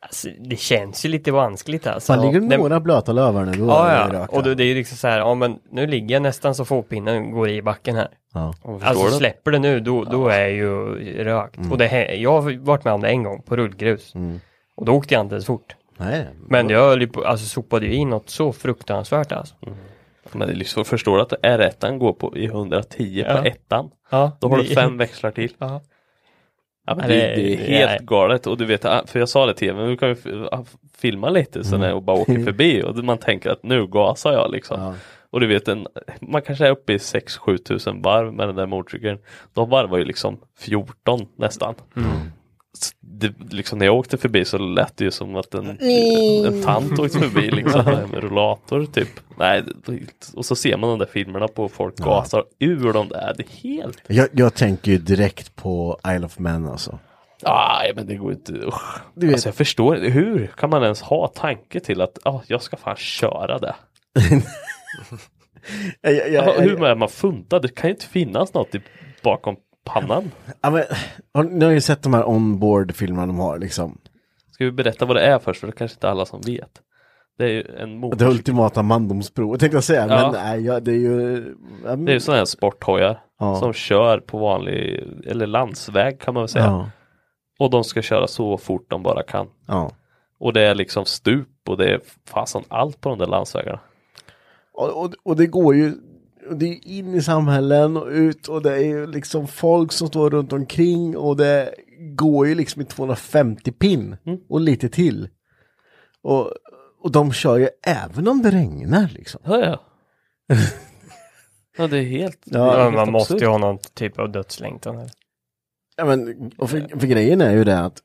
S4: Alltså, det känns ju lite vanskligt alltså.
S1: Fan, ligger det
S4: Nej,
S1: några blöta löv här nu, då är
S4: Ja,
S1: det
S4: ja.
S1: rökt.
S4: Och då, det är ju liksom så här, ja men nu ligger jag nästan så fotpinnen går i backen här.
S1: Ja.
S4: Alltså
S2: du?
S4: släpper det nu, då, då är jag ju rökt.
S1: Mm.
S4: Och det, hä- jag har varit med om det en gång på rullgrus. Och då åkte jag inte ens fort.
S1: Nej,
S4: Men jag höll ju på, alltså sopade ju in något så fruktansvärt alltså.
S2: Men det är liksom, förstår du att R1 går på, i 110
S4: Ja.
S2: på ettan?
S4: Ja,
S2: Då har du
S4: det-
S2: fem växlar till.
S4: [LAUGHS] Ja.
S2: Ja, men
S4: Ja,
S2: det,
S4: det-
S2: det är
S4: det
S2: helt
S4: är-
S2: galet och du vet, ah, för jag sa det till er, men nu kan Mm. [LAUGHS] vi f- ah, filma lite så när jag bara åker förbi och man tänker att nu gasar jag liksom. Och du vet, en, man kanske är uppe i 6-7 tusen varv med den där motorcykeln. De varvar ju liksom 14 nästan. S- Det, liksom när jag åkte förbi så lät det ju som att en, en, en tant åkte förbi [LAUGHS] liksom med rullator typ. Nej, det- och så ser man de där filmerna på folk
S1: Ja.
S2: gasar ur de där. Det är helt
S1: Jag, jag tänker ju direkt på Isle of Man alltså.
S2: Nej men det går inte. Usch.
S1: Du vet-
S2: Alltså jag förstår inte. Hur kan man ens ha tanke till att ah, jag ska fan köra det?
S1: Jag, jag, jag,
S2: Ja, hur är man funtad? Det kan ju inte finnas något i, bakom pannan.
S1: Ja, men, har, ni har ju sett de här onboard-filmerna de har liksom.
S2: Ska vi berätta vad det är först? För det kanske inte alla som vet. Det är ju en
S1: Det
S2: motor.
S1: ultimata mandomsprovet tänkte jag säga.
S2: Ja.
S1: Men nej, jag, det är ju... ja, men-
S2: Det är ju sådana här sporthojar.
S1: Ja.
S2: Som kör på vanlig, eller landsväg kan man väl säga.
S1: Ja.
S2: Och de ska köra så fort de bara kan.
S1: Ja.
S2: Och det är liksom stup och det är fasen allt på de där landsvägarna.
S1: Och, och, och det går ju och det är ju in i samhällen och ut och det är ju liksom folk som står runt omkring och det går ju liksom i 250 pin
S2: Mm.
S1: och lite till. Och, och de kör ju även om det regnar liksom. [LAUGHS]
S2: Ja, ja. ja det är helt... det är
S4: Ja,
S2: helt
S4: man måste
S2: absurt.
S4: ju ha någon typ av dödslängtan. här.
S1: Ja, men, och för, för grejen är ju det att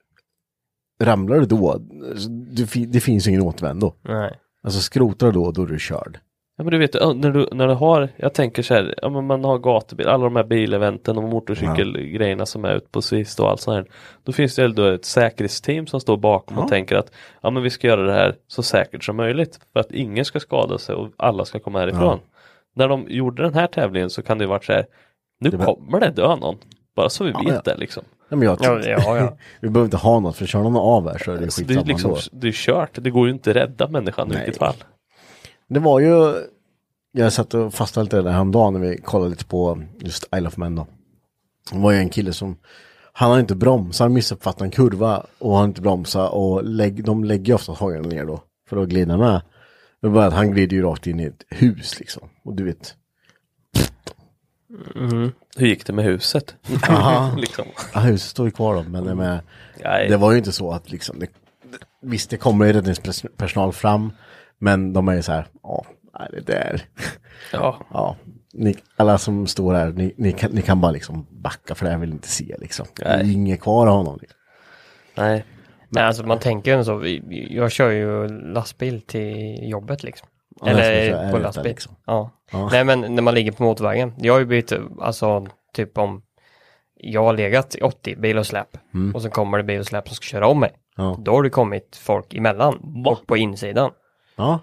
S1: ramlar du då, alltså, du, fi- det finns ju ingen återvändo.
S4: Nej.
S1: Alltså skrotar du då, då är du körd.
S2: Ja men du vet, ö, när du, när du har, jag tänker så här, ja, men man har gatubil, alla de här bileventen och motorcykelgrejerna som är ute på Svist och allt sånt här. Då finns det ändå ett säkerhetsteam som står bakom och tänker att ja men vi ska göra det här så säkert som möjligt för att ingen ska skada sig och alla ska komma härifrån. När de gjorde den här tävlingen så kan det ju varit så här, nu
S1: Det var-
S2: kommer det dö någon. Bara så vi vet
S1: ja.
S2: det liksom.
S1: Nej, men jag,
S4: Ja, ja, ja.
S1: [LAUGHS] vi behöver inte ha något för kör någon av här så är det
S2: Så
S1: skitsamma
S2: det är liksom,
S1: ändå.
S2: det är kört, det går ju inte att rädda människan i
S1: Nej.
S2: vilket fall.
S1: Det var ju, jag satt och fastnade lite där häromdagen när vi kollade lite på just Isle of Man då. Det var ju en kille som, han har inte bromsat, han missuppfattade en kurva och han har inte bromsat och lägg, de lägger ju ofta hojarna ner då för att glida med. Det var bara att han glider ju rakt in i ett hus liksom. Och du vet,
S2: Hur gick det med huset?
S1: Aha.
S2: [LAUGHS] liksom.
S1: ja, huset står ju kvar då men det, med,
S2: Mm. Nej.
S1: det var ju inte så att liksom, det, det- visst det kommer ju räddningspersonal fram men de är ju så här, ja, nej, det där.
S2: Ja.
S1: Ja, ni, alla som står här, ni, ni, kan, ni kan bara liksom backa för det här vill inte se liksom. Det är
S2: Nej.
S1: inget kvar av honom. Liksom.
S2: Nej.
S4: Nej, alltså man tänker ju så. vi- Jag kör ju lastbil till jobbet liksom.
S1: Ja, jag ska köra
S4: Eller på
S1: ärligt
S4: lastbil.
S1: där, liksom.
S4: Ja.
S1: Ja.
S4: Nej, men när man ligger på motorvägen. Jag har ju bytt, alltså typ om jag har legat i 80 bil och släp och så kommer det bil och släp som ska köra om mig.
S1: Mm. Ja.
S4: Då har det kommit folk emellan
S2: Va?
S4: och på insidan.
S1: Ja.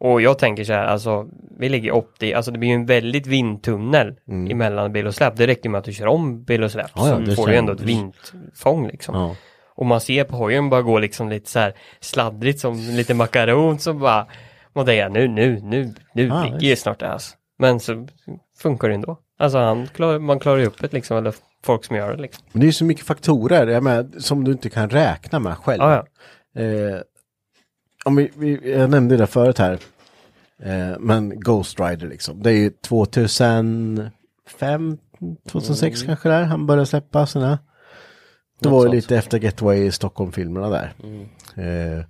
S4: Och jag tänker så här, alltså vi ligger i 80, alltså det blir ju en väldigt vindtunnel emellan bil och släp. Det räcker med att du kör om bil och släp
S1: Mm. Ja, ja,
S4: så
S1: det
S4: får du ju
S1: känner-
S4: ändå ett vindfång liksom.
S1: Ja.
S4: Och man ser på hojen bara gå liksom lite så här sladdrigt som lite makaron som bara Man tänker nu, nu, nu, nu
S1: Ah,
S4: ligger ju snart det här. alltså. Men så funkar det ändå. Alltså han klar, man klarar ju upp det liksom, eller folk som gör det liksom.
S1: Men det är ju så mycket faktorer jag menar, som du inte kan räkna med själv.
S4: Ah, Ja, ja.
S1: Eh, om vi, vi, jag nämnde det förut här. Eh, men Ghost Rider liksom. Det är ju 2005, 2006 kanske där. Han började släppa sina. Det var ju lite efter Getaway i Stockholm-filmerna där. Eh,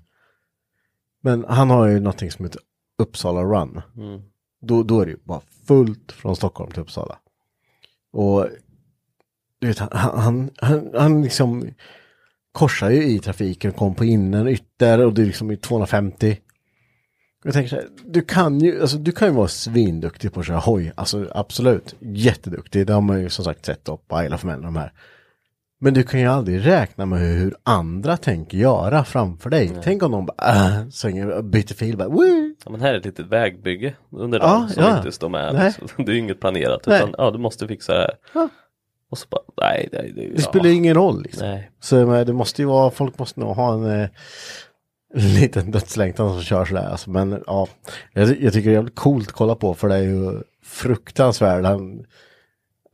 S1: men han har ju någonting som heter Uppsala Run. Då, då är det ju bara fullt från Stockholm till Uppsala. Och du vet, han, han, han, han liksom korsar ju i trafiken och kom på inner ytter och det är liksom i 250. Jag tänker så här, du kan ju, alltså du kan ju vara svinduktig på att köra hoj, alltså absolut, jätteduktig, det har man ju som sagt sett upp på Isle of Man och de här. Men du kan ju aldrig räkna med hur, hur andra tänker göra framför dig. Tänk om de bara, äh, svänger, byter fil, bara, woo!
S2: Ja, men här är ett litet vägbygge under
S1: Ja,
S2: dagen som
S1: ja.
S2: inte står med.
S1: Nej.
S2: Alltså, det är ju inget planerat
S1: Nej.
S2: utan ja, du måste fixa det här.
S1: Ja.
S2: Och så bara, nej, nej, nej
S1: Det spelar ju ingen roll liksom.
S2: Nej.
S1: Så men, det måste ju vara, folk måste nog ha en eh, liten dödslängtan som kör sådär. Alltså, men ja, jag, ty- jag tycker det är jävligt coolt att kolla på för det är ju fruktansvärt. Han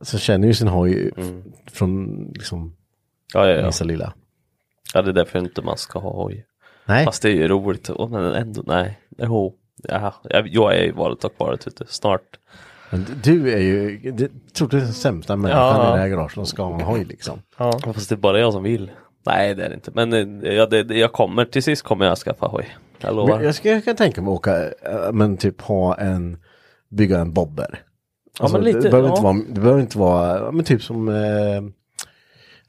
S1: så känner ju sin hoj f- från liksom
S2: Ja, ja, ja.
S1: minsta lilla.
S2: ja, det är därför inte man ska ha hoj.
S1: Nej,
S2: Fast det är ju roligt. Åh, men ändå, nej. Jo. Ja, jag, jag är ju valet och kvaret ute. Snart.
S1: men d- du är ju, det, tror du är den sämsta människan i det här garaget som ska ha en hoj liksom.
S4: Ja.
S2: Ja, Fast det är bara jag som vill. Nej, det är det inte. Men eh, ja, det, det, jag kommer, till sist kommer jag skaffa hoj. Jag lovar.
S1: Men jag, ska, jag kan tänka mig att åka, eh, men typ ha en bygga en bobber.
S2: Ja,
S1: Alltså,
S2: men lite,
S1: det, behöver
S2: ja.
S1: inte vara, det behöver inte vara, ja, men typ som, eh,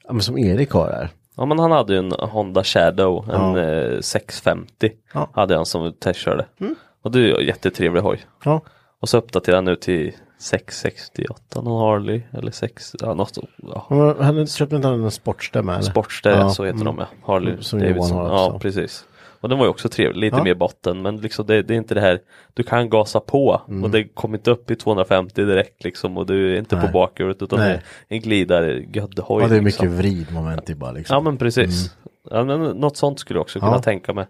S1: ja, men som Erik har här.
S2: Ja men han hade ju en Honda Shadow, en
S1: Ja.
S2: eh, 650 hade han som testkörde. Och det är ju en jättetrevlig hoj.
S1: Mm. Ja.
S2: Och så uppdaterade han nu till 668 någon Harley eller 6, ja, något, ja.
S1: Han har- han har- köpte inte han en sportstämma eller?
S2: Sportster, så heter de ja. Harley
S1: Mm, Som
S2: Davidson.
S1: Johan har också.
S2: ja, precis. Och den var ju också trevlig, lite
S1: Ja.
S2: mer botten men liksom det, det är inte det här Du kan gasa på
S1: Mm.
S2: och det kommer inte upp i 250 direkt liksom och du är inte
S1: Nej.
S2: på bakhjulet utan
S1: Nej.
S2: det är en glidar-göddhoj.
S1: Ja, det är mycket
S2: liksom.
S1: vridmoment i bara liksom.
S2: Ja men precis. Ja, men något sånt skulle jag också kunna
S1: Ja.
S2: tänka mig.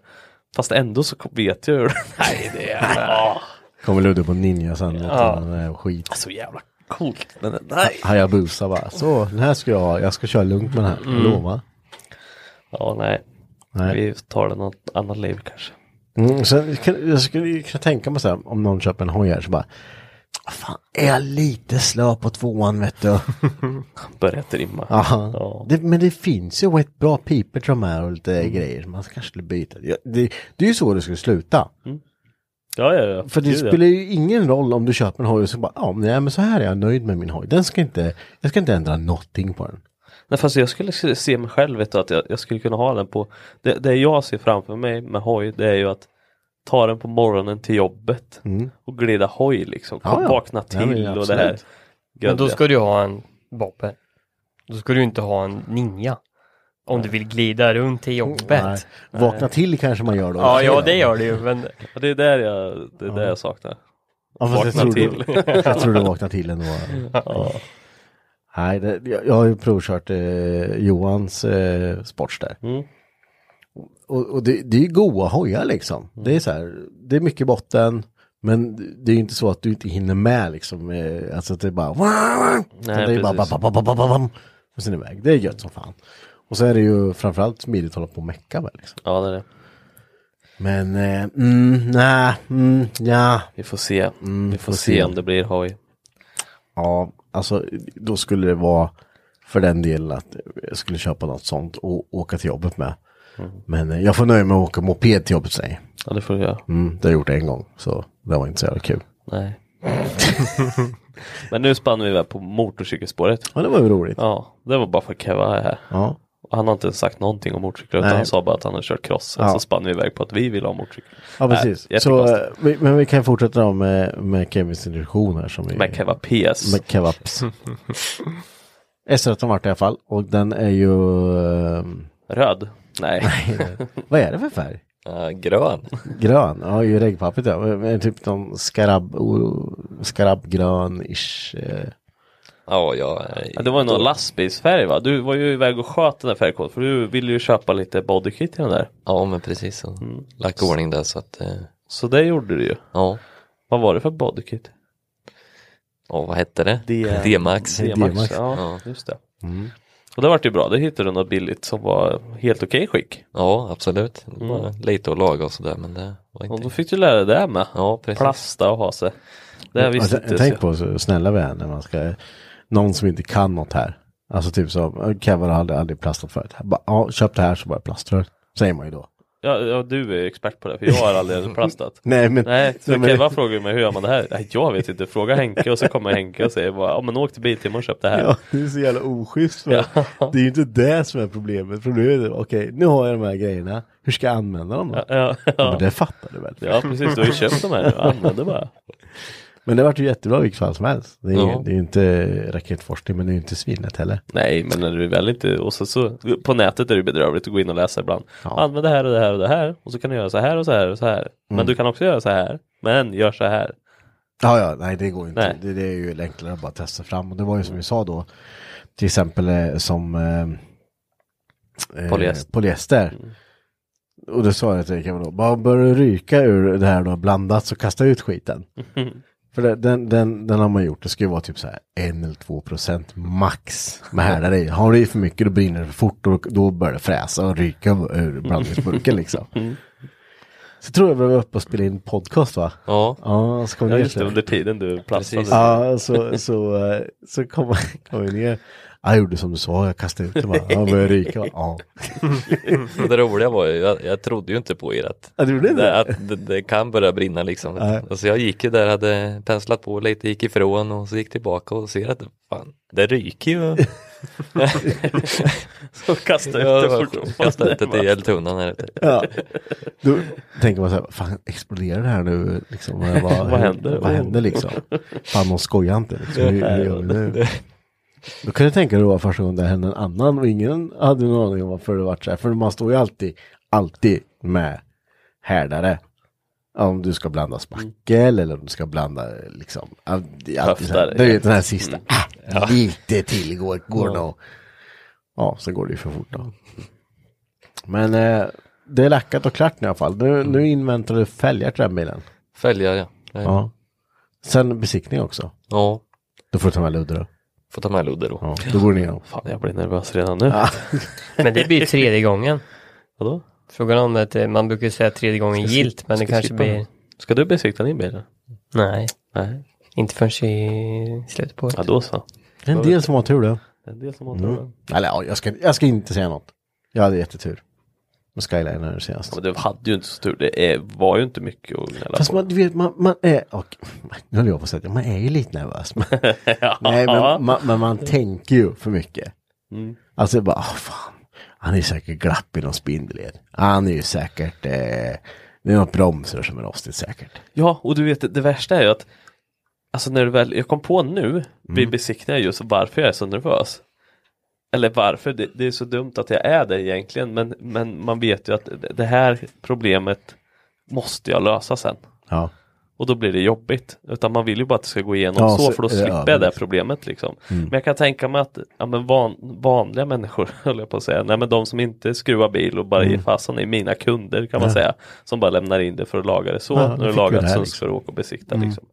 S2: Fast ändå så vet jag hur Nej det är... Ja.
S1: Kommer Ludde på Ninja sen och
S2: Ja.
S1: tar den här skit.
S2: Så jävla coolt. Men nej.
S1: Hayabusa bara, så den här ska jag ha, jag ska köra lugnt med den här,
S2: Mm.
S1: lova.
S2: Ja nej.
S1: Nej.
S2: Vi tar det något annat liv kanske.
S1: Mm, sen kan, jag skulle ju kunna tänka mig så här, om någon köper en hoj här så bara, fan är jag lite slö på tvåan vet du.
S2: Börjat rimma.
S1: Ja.
S2: Ja.
S1: Det, men det finns ju ett bra piper till de här och lite grejer. Man kanske skulle byta. Ja, Det, det är ju så det skulle sluta.
S2: Ja, ja, ja.
S1: För det
S2: Gud, ja.
S1: spelar ju ingen roll om du köper en hoj och så bara, ja nej, men så här är jag nöjd med min hoj. Den ska inte, jag ska inte ändra någonting på den.
S2: Nej, fast jag skulle se se mig själv, vet du, att jag, jag skulle kunna ha den på det, det jag ser framför mig med hoj, det är ju att ta den på morgonen till jobbet
S1: Mm.
S2: och glida hoj liksom.
S4: Ja, ja.
S2: Vakna till
S4: Nej, men
S2: och det
S4: absolut.
S2: här.
S4: Men då
S2: göddiga.
S4: ska du ju ha en bobber. Då ska du ju inte ha en ninja. Om du vill glida runt till jobbet.
S1: Nej. Vakna till kanske man gör då.
S4: Ja, ja det gör du ju. Men
S2: Ja, Det är där jag, det är där jag saknar.
S1: Ja, fast jag
S2: Vakna
S1: tror
S2: till.
S1: du- [LAUGHS] jag tror du vaknar till ändå.
S2: Ja.
S1: Nej, det, jag, jag har ju provkört eh, Johans eh, sportster.
S2: Mm.
S1: Och, och det, det är ju goa hojar liksom. Det är så här, det är mycket botten. Men det är ju inte så att du inte hinner med liksom. Eh, alltså att det är bara... Utan det är bara
S2: precis.
S1: bam, bam, bam, bam, bam, bam, och sen iväg. Det är gött som fan. Och så är det ju framförallt smidigt att hålla på och mecka med liksom.
S2: Ja, det är det.
S1: Men eh, mm, nej, mm, ja.
S2: Vi får se.
S1: Mm,
S2: Vi får se om det blir hoj.
S1: Ja, alltså då skulle det vara för den delen att jag skulle köpa något sånt och åka till jobbet med. Men eh, jag får nöja mig med att åka moped till jobbet säger
S2: Ja, det får du göra.
S1: mm, Det har jag gjort en gång, så det var inte så jävla kul.
S2: Nej. Men nu spann vi iväg på motorcykelspåret.
S1: Ja, det var ju roligt.
S2: Ja, det var bara för att Keva är här.
S1: Ja.
S2: Och han har inte ens sagt någonting om motorcyklar utan
S1: Nej.
S2: han sa bara att han har kört cross. Sen
S1: Ja.
S2: så spann vi iväg på att vi vill ha motorcykel.
S1: Ja, precis.
S2: Nej,
S1: så,
S2: jättekonstigt.
S1: eh, vi, men vi kan fortsätta då med, med Kevins introduktion här som vi...
S2: Med Keva PS.
S1: Med
S2: [LAUGHS]
S1: Kevaps. S13 vart det i alla fall och den är ju... eh,
S2: Röd? Nej.
S1: Vad är det för färg?
S3: Eh, grön.
S1: Grön, ja i regnpappret ja. Men- men Typ någon skarab, o- skarabbgrön-ish. eh.
S3: [LAUGHS] Ja, jag...
S2: Ja, det var ju någon lastbilsfärg va? Du var ju iväg och sköt den där färgkoden för du ville ju köpa lite bodykit till den där.
S3: Ja, men precis. Så.
S2: Mm.
S3: Lagt i ordning där så att... eh,
S2: Så det gjorde du ju.
S3: Ja.
S2: Vad var det för bodykit?
S3: Ja, vad hette det?
S2: D-
S3: D-Max.
S2: D-Max. Ja,
S3: Ja.
S2: just det.
S1: Mm.
S2: Och det vart ju bra. Det hittade du något billigt som var helt okej skick.
S3: ja, absolut. Det var Lite att laga och sådär, men det var
S2: Och
S3: inte...
S2: då fick du lära dig det här med.
S3: Ja, precis.
S2: Plasta och ha sig. Det här visste
S1: Alltså,
S2: inte
S1: tänk
S2: jag.
S1: på så snälla vi är när man ska, någon som inte kan något här. Alltså typ som, Kevin har aldrig, aldrig plastat förut. Han Bara, ja, köp det här så bara plastar Säger man ju då.
S2: Ja, ja, du är ju expert på det för jag har aldrig plastat.
S1: [LAUGHS] Nej men,
S2: Nej, så
S1: nej, men-
S2: Keva frågar ju mig hur gör man det här? Nej, jag vet inte, fråga Henke och så kommer Henke och säger bara, ja men åk till Biltema och köp det här.
S1: [LAUGHS] ja, det är så jävla oschysst. men Det är ju inte det som är problemet. Problemet är, okej, nu har jag de här grejerna. Hur ska jag använda dem då? Ja,
S2: Ja,
S1: men
S2: ja.
S1: det fattar du väl?
S2: ja precis, du har ju köpt de här och använder bara.
S1: Men det vart ju jättebra i vilket fall som helst. Det är, ju-
S3: Ja.
S1: det är ju inte raketforskning men det är ju inte svinnet heller.
S2: Nej, men när du väl inte, och så, så på nätet är det ju bedrövligt att gå in och läsa ibland.
S1: Ja.
S2: Använd det här och det här och det här och så kan du göra så här och så här och så här. Men du kan också göra så här, men gör så här.
S1: Ja, ja, nej det går ju inte.
S2: Nej.
S1: Det, det är ju enklare att bara testa fram. Och det var ju som vi sa då, till exempel eh, som eh, eh,
S2: Polyester. Mm.
S1: polyester. Och då sa jag till Rickard då, bara börjar du ryka ur det här då blandat så kasta ut
S2: [LAUGHS]
S1: skiten. För det, den, den, den har man gjort, det ska ju vara typ så här en eller två procent max med härdar i. Har du i för mycket då
S2: [LAUGHS] Mm.
S1: brinner det för fort och då börjar det fräsa och ryka ur blandningsburken liksom. Så tror jag vi var uppe och spelade in podcast va?
S2: Ja.
S1: Ja, så kom vi
S2: Ja,
S1: ner
S2: just det,
S1: till-
S2: under tiden du platsade.
S1: Ja, så, så, eh, så kom, [LAUGHS] kom vi ner. Jag gjorde som du sa, jag kastade ut dem. Han började ryka. va? Ja.
S3: Och det roliga var ju, jag, jag trodde ju inte på er att,
S1: Ja, du gjorde inte?
S3: det, att det, det kan börja brinna liksom.
S1: Nej.
S3: Alltså jag gick ju där, hade penslat på lite, gick ifrån och så gick tillbaka och ser att fan, det ryker ju.
S2: så kasta ut
S3: Ja,
S2: det
S3: var
S2: fortfarande.
S3: sjukt. Kasta ut det till eldtunnan här ute.
S1: Ja. Då tänker man så här, fan exploderar det här nu? Liksom, vad,
S2: [LAUGHS]
S3: Vad händer?
S2: Oh.
S1: Vad händer liksom? Fan, de skojar inte. Liksom. Hur, hur gör vi nu? Då kan jag tänka dig då första gången det hände en annan och ingen hade någon aning om varför det vart så här. För man står ju alltid, alltid med härdare. Om du ska blanda spackel eller om du ska blanda liksom. ja, Det är alltid så här,
S2: Höftare,
S1: du
S2: ja.
S1: vet den här sista.
S2: Mm.
S1: Ah, lite till går, går
S2: Ja.
S1: nog. Ja, så går det ju för fort då. Men eh, det är lackat och klart nu i alla fall. Nu, nu inväntar du fälgar till den bilen.
S3: Fälgar ja.
S1: Ja. Sen besiktning också.
S3: Ja.
S1: Då får du ta med ludder då.
S3: Får ta med ludder då.
S1: Ja, då går den igenom.
S2: Fan, jag blir nervös redan nu.
S4: [LAUGHS] Men det blir ju tredje gången.
S2: Vadå?
S4: Frågan om att eh, man brukar ju säga tredje gången
S2: Ska
S4: gilt,
S2: skip-
S4: men det
S2: ska
S4: kanske
S2: skippa
S4: blir...
S2: den. Ska du besikta din bil? då?
S4: Nej,
S2: Nej,
S4: inte förrän i slutet på året.
S2: ja, då så.
S1: Det är en del som har tur då.
S2: Det är en del som har
S1: Mm.
S2: mm.
S1: Eller ja, jag ska, jag ska inte säga något. Jag hade jättetur. Med Skyliner senast.
S2: Ja, men du hade ju inte så tur. Det är, var ju inte mycket att gnälla
S1: Fast
S2: på.
S1: man, du vet, man, man är, och, nu höll jag på att säga att man är ju lite [LAUGHS] nervös. Men, nej, men man, men man tänker ju för mycket.
S2: Mm.
S1: Alltså bara, ah fan, han är säkert glapp i någon spindelled. Han är ju säkert, eh, det är något bromsrör som är rostigt säkert.
S2: Ja, och du vet det, det värsta är ju att Alltså när du väl, jag kom på nu
S1: Mm.
S2: vid besiktningen just varför jag är så nervös. Eller varför, det, det är så dumt att jag är det egentligen men, men man vet ju att det- det här problemet måste jag lösa sen.
S1: Ja.
S2: Och då blir det jobbigt. Utan man vill ju bara att det ska gå igenom
S1: Ja,
S2: så,
S1: så
S2: för då
S1: är det
S2: slipper
S1: över,
S2: jag det här
S1: liksom.
S2: problemet liksom.
S1: Mm.
S2: Men jag kan tänka mig att ja, men van, vanliga människor, [LAUGHS] höll jag på att säga, nej men de som inte skruvar bil och bara ger fasen i mina kunder kan man
S1: Mm. Ja.
S2: säga, som bara lämnar in det för att laga det så,
S1: Ja, då
S2: när
S1: fick
S2: du
S1: vi
S2: lagat
S1: det här,
S2: så
S1: liksom.
S2: ska du åka och besikta liksom.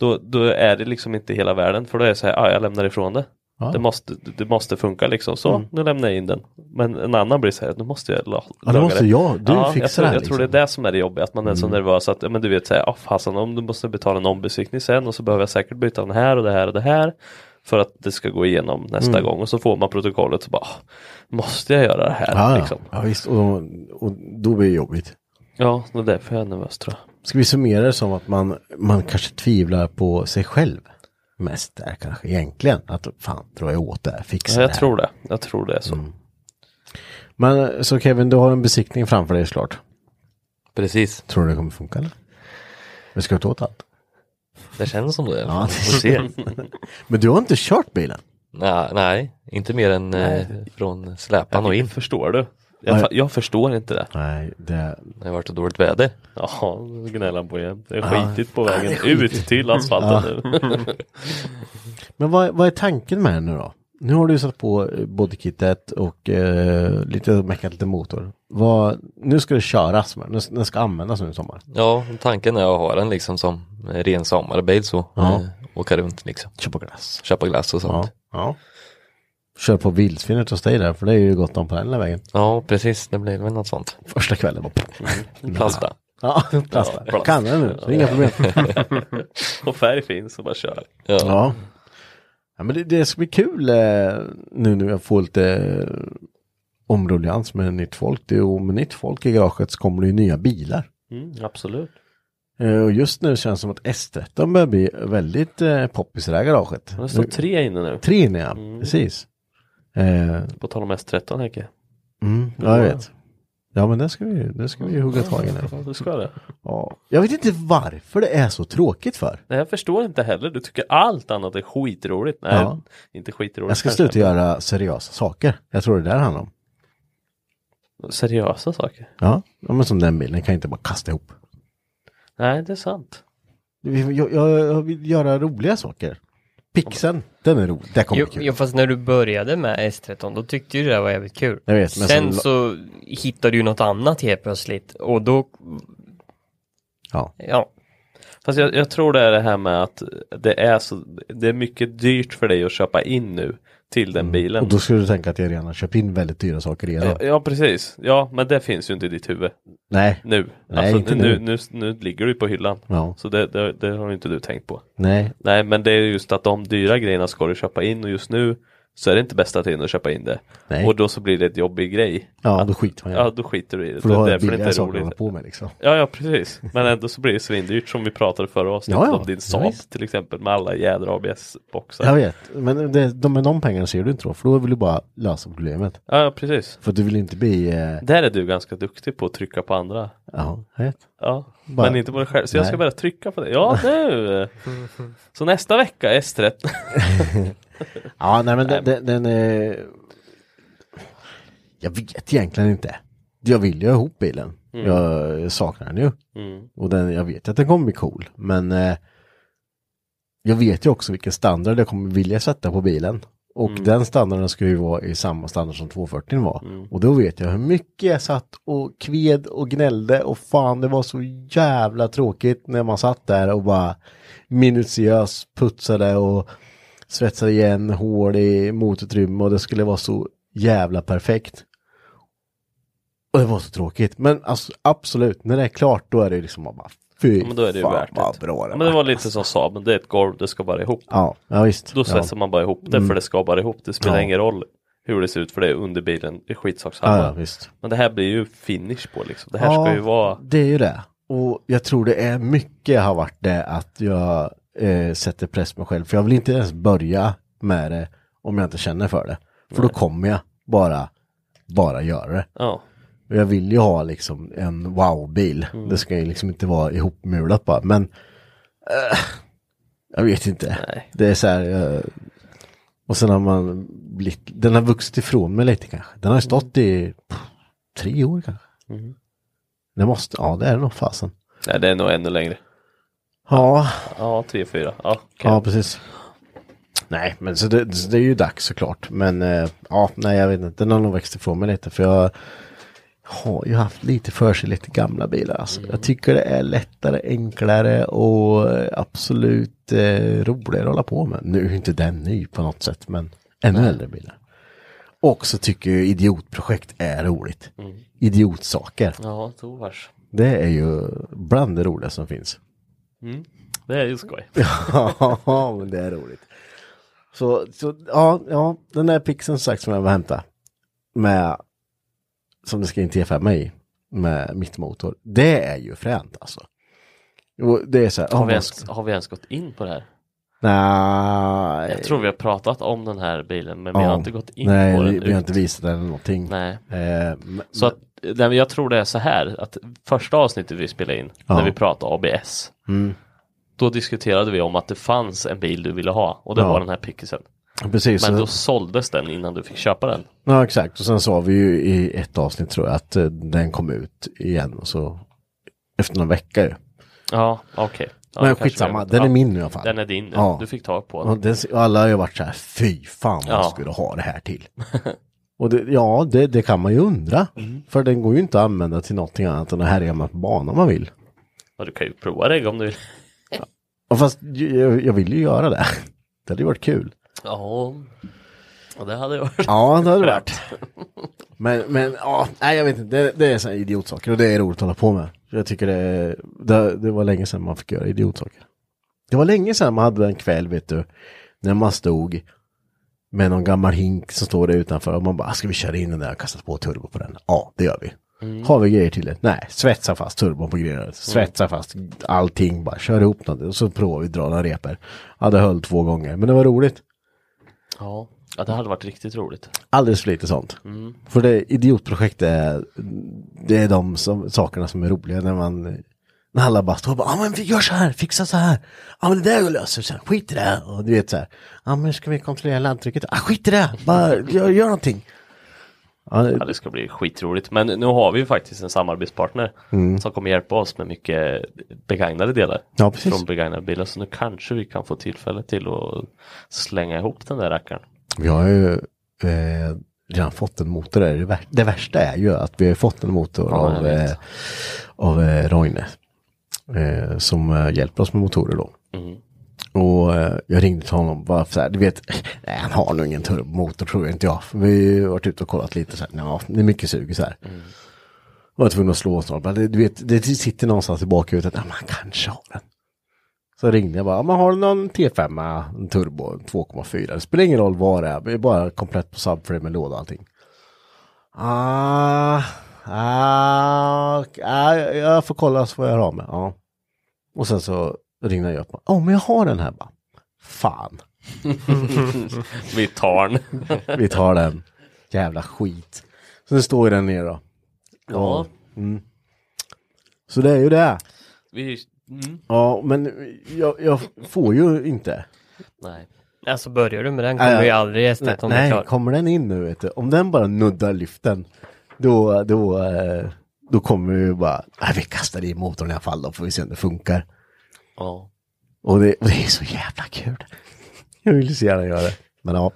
S2: Då, då är det liksom inte hela världen, för då är det så här, ah, jag lämnar ifrån det.
S1: Ja.
S2: Det, måste, det måste funka liksom, så nu lämnar jag in den. Men en annan blir så här, nu måste jag la- laga
S1: Ja, då måste jag, du fixar
S2: jag tror,
S1: det här.
S2: Jag tror det
S1: liksom. Mm.
S2: är det som är det jobbiga, att man är så nervös att ja, men du vet säga, ah, fasen om du måste betala en ombesiktning sen och så behöver jag säkert byta den här och det här och det här för att det ska gå igenom nästa
S1: Mm.
S2: gång och så får man protokollet så bara, ah, måste jag göra det här?
S1: Ah, Ja, ja.
S2: liksom.
S1: ja visst, och, och då blir det jobbigt.
S2: ja det är därför jag är nervös tror jag.
S1: Ska vi summera det som att man, man kanske tvivlar på sig själv mest där kanske egentligen. Att fan, drar jag åt det här, fixar
S2: Ja,
S1: det
S2: jag
S1: här.
S2: tror det, jag tror det är
S1: Mm.
S2: så.
S1: Men så Kevin, du har en besiktning framför dig såklart.
S3: Precis,
S1: Tror du det kommer funka eller? Vi ska ta åt allt.
S3: det känns som det.
S1: Ja.
S3: Får se.
S1: Men du har inte kört bilen?
S3: Nej, nej, inte mer än eh, från släpan och in.
S2: Förstår du? Jag,
S1: Nej.
S2: fa- jag förstår inte det.
S1: Nej, det...
S3: Det har varit så dåligt väder.
S2: Ja, nu gnäller han på igen. Det är
S1: Ja.
S2: skitigt på
S1: Ja, Ah. det är
S2: vägen ut
S1: skitigt. Ah.
S2: till asfalten nu.
S1: Men vad, vad är tanken med den nu då? Nu har du satt på eh, bodykittet och eh, lite meckat lite motor. Vad, nu ska det köras med den, den ska användas nu i sommar.
S3: Ja, tanken är att ha den liksom som eh, ren sommarbil så.
S1: Ja.
S3: Eh, åka runt liksom.
S1: Köpa glass.
S3: Köpa glass och
S1: Ja,
S3: sånt.
S1: ja. Kör på vildsvinet hos dig där, för det är ju gott om på den här vägen.
S3: Ja, precis. Det blir väl något sånt.
S1: Första kvällen bara... [LAUGHS]
S3: Plasta.
S1: Ja, plasta. Kan den nu, så inga problem.
S2: [LAUGHS] och färg finns och bara kör.
S3: Ja.
S1: Ja. ja men det, det ska bli kul eh, nu när jag får lite eh, omruljans med nytt folk. Det, och med nytt folk i garaget så kommer det ju nya bilar.
S2: Mm, absolut.
S1: Eh, och just nu känns det som att S13 börjar bli väldigt eh, poppis i det här garaget.
S2: Det står
S1: Nu-
S2: tre inne nu.
S1: tre inne ja,
S2: Mm.
S1: precis. Eh,
S2: På tal om S13 Henke.
S1: mm, ja, jag vet. Ja men det ska vi, det ska vi
S2: Mm.
S1: ju hugga tag i nu.
S2: Ja, Du ska det.
S1: Ja. Jag vet inte varför det är så tråkigt för.
S2: Nej, jag förstår inte heller. Du tycker allt annat är skitroligt. Nej,
S1: Ja.
S2: inte skitroligt.
S1: Jag ska
S2: kanske,
S1: sluta göra seriösa saker. Jag tror det där handlar om.
S2: men Seriösa saker.
S1: Ja, ja men som den bilden kan jag inte bara kasta ihop.
S2: Nej, det är sant.
S1: Jag, jag, jag vill göra roliga saker. Pixeln, den är rolig. Där kommer
S4: Jo,
S1: det kul.
S4: jo, fast när du började med S13, då tyckte du det där var jävligt kul.
S1: Jag vet, men
S4: Sen
S1: så-
S4: så hittade du ju något annat helt plötsligt och då,
S1: Ja.
S4: ja.
S2: Fast jag, jag tror det är det här med att det är, så, det är mycket dyrt för dig att köpa in nu till den bilen.
S1: Mm. Och då skulle du tänka att jag redan har köpt in väldigt dyra saker redan.
S2: Ja, ja precis, ja men det finns ju inte i ditt huvud.
S1: Nej.
S2: Nu, Alltså,
S1: Nej, inte nu.
S2: nu. Nu, nu ligger du på hyllan.
S1: Ja.
S2: Så det, det, det har ju inte du tänkt på.
S1: Nej.
S2: Nej men det är just att de dyra grejerna ska du köpa in och just nu så är det inte bästa tiden att köpa in det.
S1: Nej.
S2: Och då så blir det ett jobbig grej.
S1: Ja, då skiter man i det.
S2: Ja då skiter du i det.
S1: För då
S2: Det är
S1: har jag
S2: därför det
S1: billiga
S2: inte är
S1: saker att
S2: roligt.
S1: hålla på med liksom.
S2: Ja, ja precis. Men ändå så blir det svindyrt som vi pratade förra avsnittet
S1: Ja, ja.
S2: om din
S1: Ja,
S2: Saab
S1: visst.
S2: till exempel med alla jädra
S1: [LAUGHS]
S2: ABS-boxar.
S1: Jag vet, men det, de, med de pengarna ser du inte då, för då vill du bara lösa problemet.
S2: Ja, ja, precis.
S1: För du vill inte bli... Eh,
S2: Där är du ganska duktig på att trycka på andra.
S1: ja, jag vet.
S2: Ja,
S1: Bara-
S2: men inte på dig själv. Så jag ska
S1: Nej.
S2: börja trycka på det. Ja, nu! Så nästa vecka, S13.
S1: Ja, nej men den... den, den eh, jag vet egentligen inte. Jag vill ju ha ihop bilen.
S2: Mm.
S1: Jag saknar den ju.
S2: Mm.
S1: Och den, jag vet att den kommer bli cool. Men eh, jag vet ju också vilken standard jag kommer vilja sätta på bilen. Och
S2: Mm.
S1: den standarden ska ju vara i samma standard som 240 var.
S2: Mm.
S1: Och då vet jag hur mycket jag satt och kved och gnällde och fan det var så jävla tråkigt när man satt där och bara minutiöst putsade och svetsade igen hål i motutrymme och det skulle vara så jävla perfekt. Och det var så tråkigt. Men alltså, absolut, när det är klart då är det liksom bara fy
S2: Ja, men då är det ju
S1: fan
S2: värt
S1: vad
S2: det.
S1: bra
S2: Ja,
S1: det
S2: men det
S1: var.
S2: var lite som Saaben, det är ett golv, det ska bara ihop.
S1: Ja, ja visst.
S2: Då svetsar
S1: ja.
S2: man bara ihop det för
S1: Mm.
S2: det ska bara ihop. Det spelar
S1: Ja.
S2: ingen roll hur det ser ut för det är under bilen, det är skitsakssamma.
S1: Ja, ja, visst.
S2: Men det här blir ju finish på liksom. Det här ska
S1: Ja,
S2: ju vara
S1: Det är ju det. Och jag tror det är mycket har varit det att jag eh, sätter press på mig själv. För jag vill inte ens börja med det om jag inte känner för det. För då kommer jag bara, bara göra det.
S2: Ja.
S1: Och jag vill ju ha liksom en wow-bil. Det ska ju liksom inte vara ihopmulat bara. Men eh, jag vet inte. Det är så här. Eh, och sen har man blivit, den har vuxit ifrån mig lite kanske. Den har ju stått i pff, tre år kanske. Det måste, ja det är det nog fasen.
S2: Nej, det är nog ännu längre.
S1: Ja,
S2: Ja, tre, fyra. Ja, okej.
S1: ja precis. Nej, men så det, så det är ju dags såklart. Men eh, ja, nej jag vet inte. Den har nog växt ifrån mig lite. För jag har ju haft lite för sig lite gamla bilar. Alltså. Jag tycker det är lättare, enklare och eh, absolut eh, roligare att hålla på med. Nu är ju inte den ny på något sätt, men ännu äldre bilar. Och så tycker jag idiotprojekt är roligt. Idiotsaker.
S2: Ja, tovars.
S1: Det är ju bland det roliga som finns.
S2: Mm. Det är ju skoj.
S1: Ja, men det är roligt. Så, så ja, ja, den där pixeln som sagt som jag var hämta med som det ska in T5 i med mittmotor. Det är ju fränt alltså. Och det är så här.
S2: Har
S1: om
S2: vi,
S1: man
S2: ens,
S1: ska-
S2: har vi ens gått in på det här?
S1: Nej.
S2: Jag tror vi har pratat om den här bilen, men vi
S1: Ja.
S2: har inte gått in
S1: Nej,
S2: på den.
S1: vi, vi har
S2: ut.
S1: inte visat den eller någonting.
S2: Nej.
S1: Eh, men-
S2: Så att, nej, men jag tror det är så här, att första avsnittet vi spelade in,
S1: Ja.
S2: när vi pratade ABS,
S1: Mm.
S2: då diskuterade vi om att det fanns en bil du ville ha, och det
S1: Ja.
S2: var den här pickisen.
S1: Precis.
S2: Men
S1: så-
S2: då såldes den innan du fick köpa den.
S1: Ja exakt och sen sa vi ju i ett avsnitt tror jag att eh, den kom ut igen och så efter någon vecka ju.
S2: Ja, okej. Ja,
S1: Men
S2: det kanske
S1: skitsamma,
S2: vi-
S1: den är
S2: ja.
S1: min nu i alla fall.
S2: Den är din nu. Du fick tag på den.
S1: Och, den, och alla har ju varit så här, fy fan vad
S2: Ja.
S1: jag skulle ha det här till. och det, ja, det, det kan man ju undra. För den går ju inte att använda till någonting annat än att härja på banan om man vill.
S2: Ja, du kan ju prova dig om du vill.
S1: Och fast ju- jag, jag vill ju göra det. [LAUGHS] Det hade ju varit kul.
S2: Ja, ja det hade jag
S4: [LAUGHS]
S2: varit.
S1: Ja, det hade det varit. Men, men ja, nej jag vet inte, det, det är sådana idiotsaker och det är roligt att hålla på med. Jag tycker det, det, det var länge sedan man fick göra idiotsaker. Det var länge sedan man hade en kväll, vet du, när man stod med någon gammal hink som står där utanför och man bara, "Ah, ska vi köra in den där och kasta på turbo på den? Ja, det gör vi. Har vi grejer till det? Nej, svetsa fast turbon på grejerna. Svetsa fast allting, bara kör ihop något och så provar vi att dra några repor. Ja, det höll två gånger, men det var roligt.
S2: Ja. ja, det hade varit riktigt roligt.
S1: Alldeles för lite sånt. För det idiotprojekt är, det är de som, sakerna som är roliga när man när alla bara står och bara, ja men vi gör så här, fixa så här. Ja men det där går löser sen, skit i det. Och du vet så här, ja men ska vi kontrollera laddtrycket? Ah, skit i det, bara gör, gör någonting. Ja,
S2: Ja,
S1: det,
S2: det ska bli skitroligt. Men nu har vi ju faktiskt en samarbetspartner som kommer hjälpa oss med mycket begagnade delar
S1: Mm. Ja, precis.
S2: från begagnade bilar. Så nu kanske vi kan få tillfälle till att slänga ihop den där rackaren.
S1: vi har ju eh, redan fått en motor. Det, är det, vär- det värsta är ju att vi har fått en motor eh,
S2: Ja, jag
S1: av,
S2: vet.
S1: eh, av eh, Roine. eh, som eh, hjälper oss med motorer då.
S2: Mm.
S1: Och eh, jag ringde till honom bara för så här, du vet, [LAUGHS] nej, han har nog ingen turbomotor tror jag inte jag. För vi har ju varit ute och kollat lite så här, ja, det är mycket sug så här. Och jag var tvungen att slå snart, men det, du vet, det sitter någonstans i bakhuvudet, ja, man kanske har den. Så ringde jag bara, ja, man har du någon T5, en turbo, en 2,4, det spelar ingen roll vad det är, det är bara komplett på subframe med låda och allting. Ah, ah, ok, ah, jag får kolla så får jag höra av mig. Ja. Och sen så ringde jag upp. Åh, men jag har den här. Bara, Fan.
S2: [LAUGHS] Vi tar den.
S1: [LAUGHS] Vi tar den. Jävla skit. Så nu står ju den nere då.
S2: Ja.
S1: Mm. Så det är ju det.
S2: Vi, mm.
S1: Ja, men jag, jag får ju inte.
S2: Nej.
S4: Alltså börjar du med den kommer
S1: Nej,
S4: ju aldrig
S1: nej,
S4: estet om det är
S1: Nej,
S4: klart.
S1: kommer den in nu vet du. Om den bara nuddar lyften. Då, då, eh, då kommer vi ju bara. Nej, vi kastar i motorn i alla fall då. Får vi se om det funkar.
S2: Ja.
S1: Och det, och det är så jävla kul. Jag vill så gärna göra det. Men ja.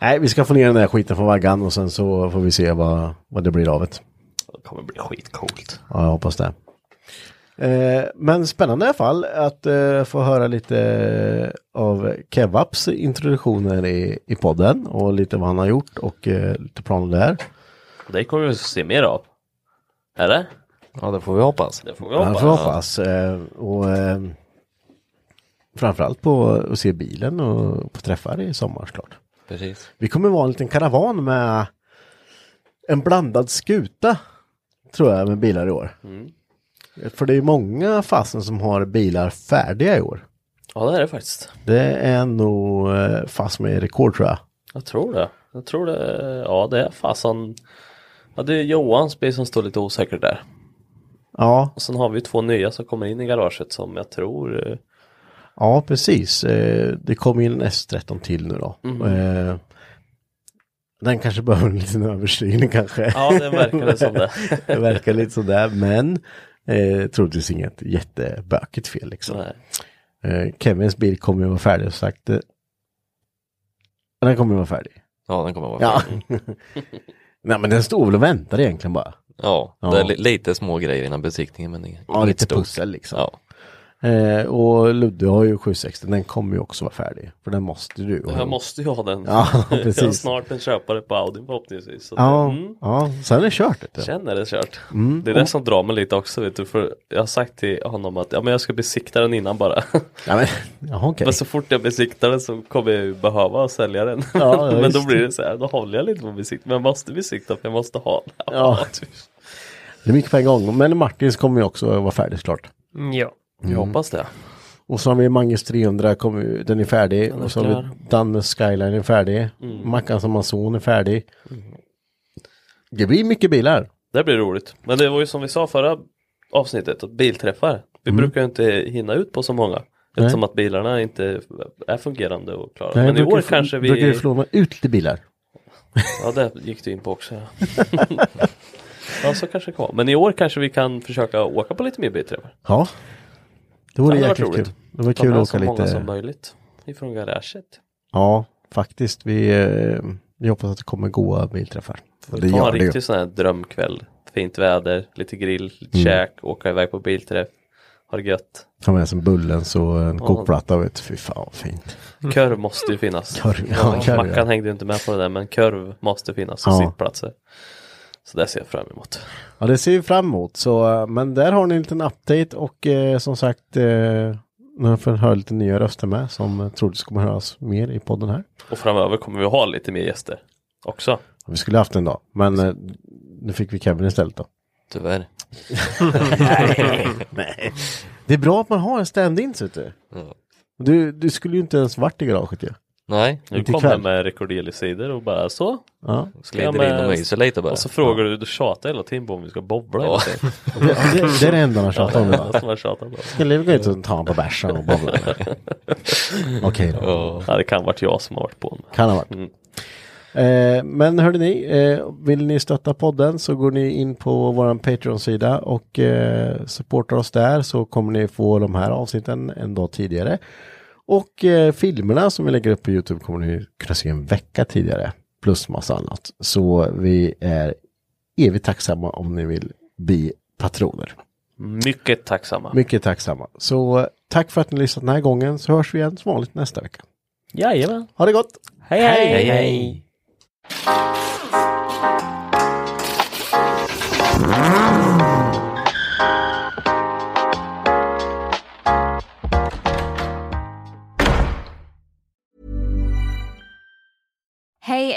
S1: Nej, vi ska få ner den där skiten från vaggan och sen så får vi se vad, vad det blir av det.
S2: Det kommer bli skitcoolt.
S1: Ja, jag hoppas det. Eh, men spännande i alla fall att eh, få höra lite eh, av Kevaps introduktioner i, i podden och lite vad han har gjort och eh, lite planer där.
S2: Det kommer vi att se mer av. Eller?
S3: Ja, det får vi hoppas.
S2: Det får vi
S1: Ja,
S2: hoppas.
S1: får hoppas. Eh, och eh, framförallt på att se bilen och på träffar i sommar såklart.
S3: Precis.
S1: Vi kommer vara en liten karavan med en blandad skuta. Tror jag med bilar i år. För det är ju många fasen som har bilar färdiga i år.
S2: Ja, det är det faktiskt.
S1: Det är nog eh, fast med rekord tror jag.
S2: Jag tror det. Jag tror det. Ja, det är fasen. Ja, det är Johans bil som står lite osäker där.
S1: Ja,
S2: Och sen har vi två nya som kommer in i garaget som jag tror eh,
S1: ja precis. Eh, det kommer ju en S13 till nu då.
S2: Mm.
S1: Eh, den kanske behöver en liten översyn [LAUGHS] kanske.
S2: Ja, det verkar det som [LAUGHS] det.
S1: [LAUGHS] det verkar lite sådär, men eh, troligtvis inget jättebökigt fel liksom.
S2: Nej.
S1: Eh, Kevins bil kommer ju vara färdig som sagt. Eh, Den kommer ju vara färdig.
S3: Ja, den kommer vara
S1: Ja.
S3: fin.
S1: [LAUGHS] Nej men den står väl och väntar egentligen bara.
S3: Ja,
S1: Ja.
S3: det är li- lite små grejer innan besiktningen men inget
S1: Ja, lite
S3: stort.
S1: pussel liksom.
S3: Ja,
S1: Eh, och Ludde har ju 760, den kommer ju också vara färdig. För den måste du.
S2: Jag måste ju ha den. [LAUGHS]
S1: Ja, precis.
S2: Jag har snart en köpare på Audi förhoppningsvis. Så
S1: Ja,
S2: det, mm,
S1: ja, Mm. sen är det kört. Vet du.
S2: känner det kört. Det är det som drar mig lite också vet du. För jag har sagt till honom att ja, men jag ska besikta den innan bara. [LAUGHS]
S1: Ja, men, jaha, okej.
S2: Men så fort jag besiktar den så kommer jag ju behöva sälja den.
S1: Ja, ja,
S2: [LAUGHS] men då
S1: visst.
S2: blir det så här, då håller jag lite på besiktning. Men jag måste besikta för jag måste ha den.
S1: Ja.
S2: typ.
S1: Det är mycket på en gång. Men Martins kommer ju också vara färdig såklart.
S4: Mm, ja.
S2: Jag hoppas det.
S1: Och så har vi Manges 300, kommer ju- den är färdig.
S2: Den är
S1: och så har vi
S2: klar. Mm.
S1: Dannes Skyline är färdig. Mackan som Amazon är färdig. Det blir mycket bilar.
S2: Det blir roligt. Men det var ju som vi sa förra avsnittet, att bilträffar. Vi
S1: Mm.
S2: brukar ju inte hinna ut på så många. Eftersom att bilarna inte är fungerande och klara.
S1: Nej,
S2: Men i
S1: brukar
S2: år
S1: få-
S2: kanske vi...
S1: Brukar vi låna ut lite bilar.
S2: Ja, det gick du in på också. [LAUGHS] Ja, ja så kanske det kan vara. Men i år kanske vi kan försöka åka på lite mer bilträffar.
S1: Ja. Det vore
S2: Det hade varit
S1: jäkligt kul.
S2: roligt.
S1: Det var
S2: Ta
S1: kul
S2: med
S1: att
S2: så
S1: åka
S2: många
S1: lite.
S2: som möjligt ifrån garaget.
S1: Ja, faktiskt. Vi, eh, vi hoppas att det kommer goa bilträffar. Och det
S2: Ta
S1: gör
S2: en
S1: det ju.
S2: riktig sån här drömkväll. Fint väder, lite grill, lite
S1: Mm.
S2: käk, åka iväg på bilträff. Ha det gött.
S1: Ta med sig en Bullens och en kokplatta. Vet. du. Fy fan vad fint.
S2: Körv måste ju finnas.
S1: Korv, ja, korv,
S2: Mackan
S1: ja.
S2: hängde ju inte med på det där men korv måste finnas och
S1: Ja.
S2: sittplatser. Så det ser jag fram emot.
S1: Ja, det ser vi fram emot. Så, eh, men där har ni en liten update och eh, som sagt, eh, ni får höra lite nya röster med som eh, troligtvis kommer höras mer i podden här.
S2: Och framöver kommer vi ha lite mer gäster också.
S1: Vi skulle haft en dag, men eh, nu fick vi Kevin istället då.
S3: tyvärr.
S1: Nej. Det är bra att man har en stand-in, så du.
S3: Ja.
S1: du. Du skulle ju inte ens varit i garaget ju.
S3: Nej,
S2: Nu
S1: Inte
S2: kommer
S1: ikväll.
S2: jag med rekorderlig-sidor och bara så.
S1: Ja.
S2: Ska jag
S3: glider in och myser lite bara.
S2: Och så frågar du, du tjatar hela tiden på om vi ska bobbla.
S3: Ja.
S1: [LAUGHS]
S2: eller någonting.
S1: Det, det, det är det enda han tjatar om.
S2: Ja,
S1: idag.
S2: som jag tjatar på.
S1: Skulle vi gå ut och ta en på bärsen och bobbla? Okej då.
S2: Ja, det kan varit jag som har varit på den.
S1: Kan ha varit.
S2: Mm.
S1: Eh, men hörde ni, eh, vill ni stötta podden så går ni in på vår Patreon-sida och eh, supportar oss där så kommer ni få de här avsnitten en dag tidigare. Och eh, filmerna som vi lägger upp på Youtube kommer ni kunna se en vecka tidigare. Plus massa annat. Så vi är evigt tacksamma om ni vill bli patroner.
S6: Mycket tacksamma.
S1: Mycket tacksamma. Så eh, tack för att ni lyssnat den här gången så hörs vi igen som vanligt nästa vecka.
S6: Jajamän.
S1: Ha det gott!
S6: Hej hej! hej, hej.
S2: Hey,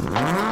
S7: Mm-hmm.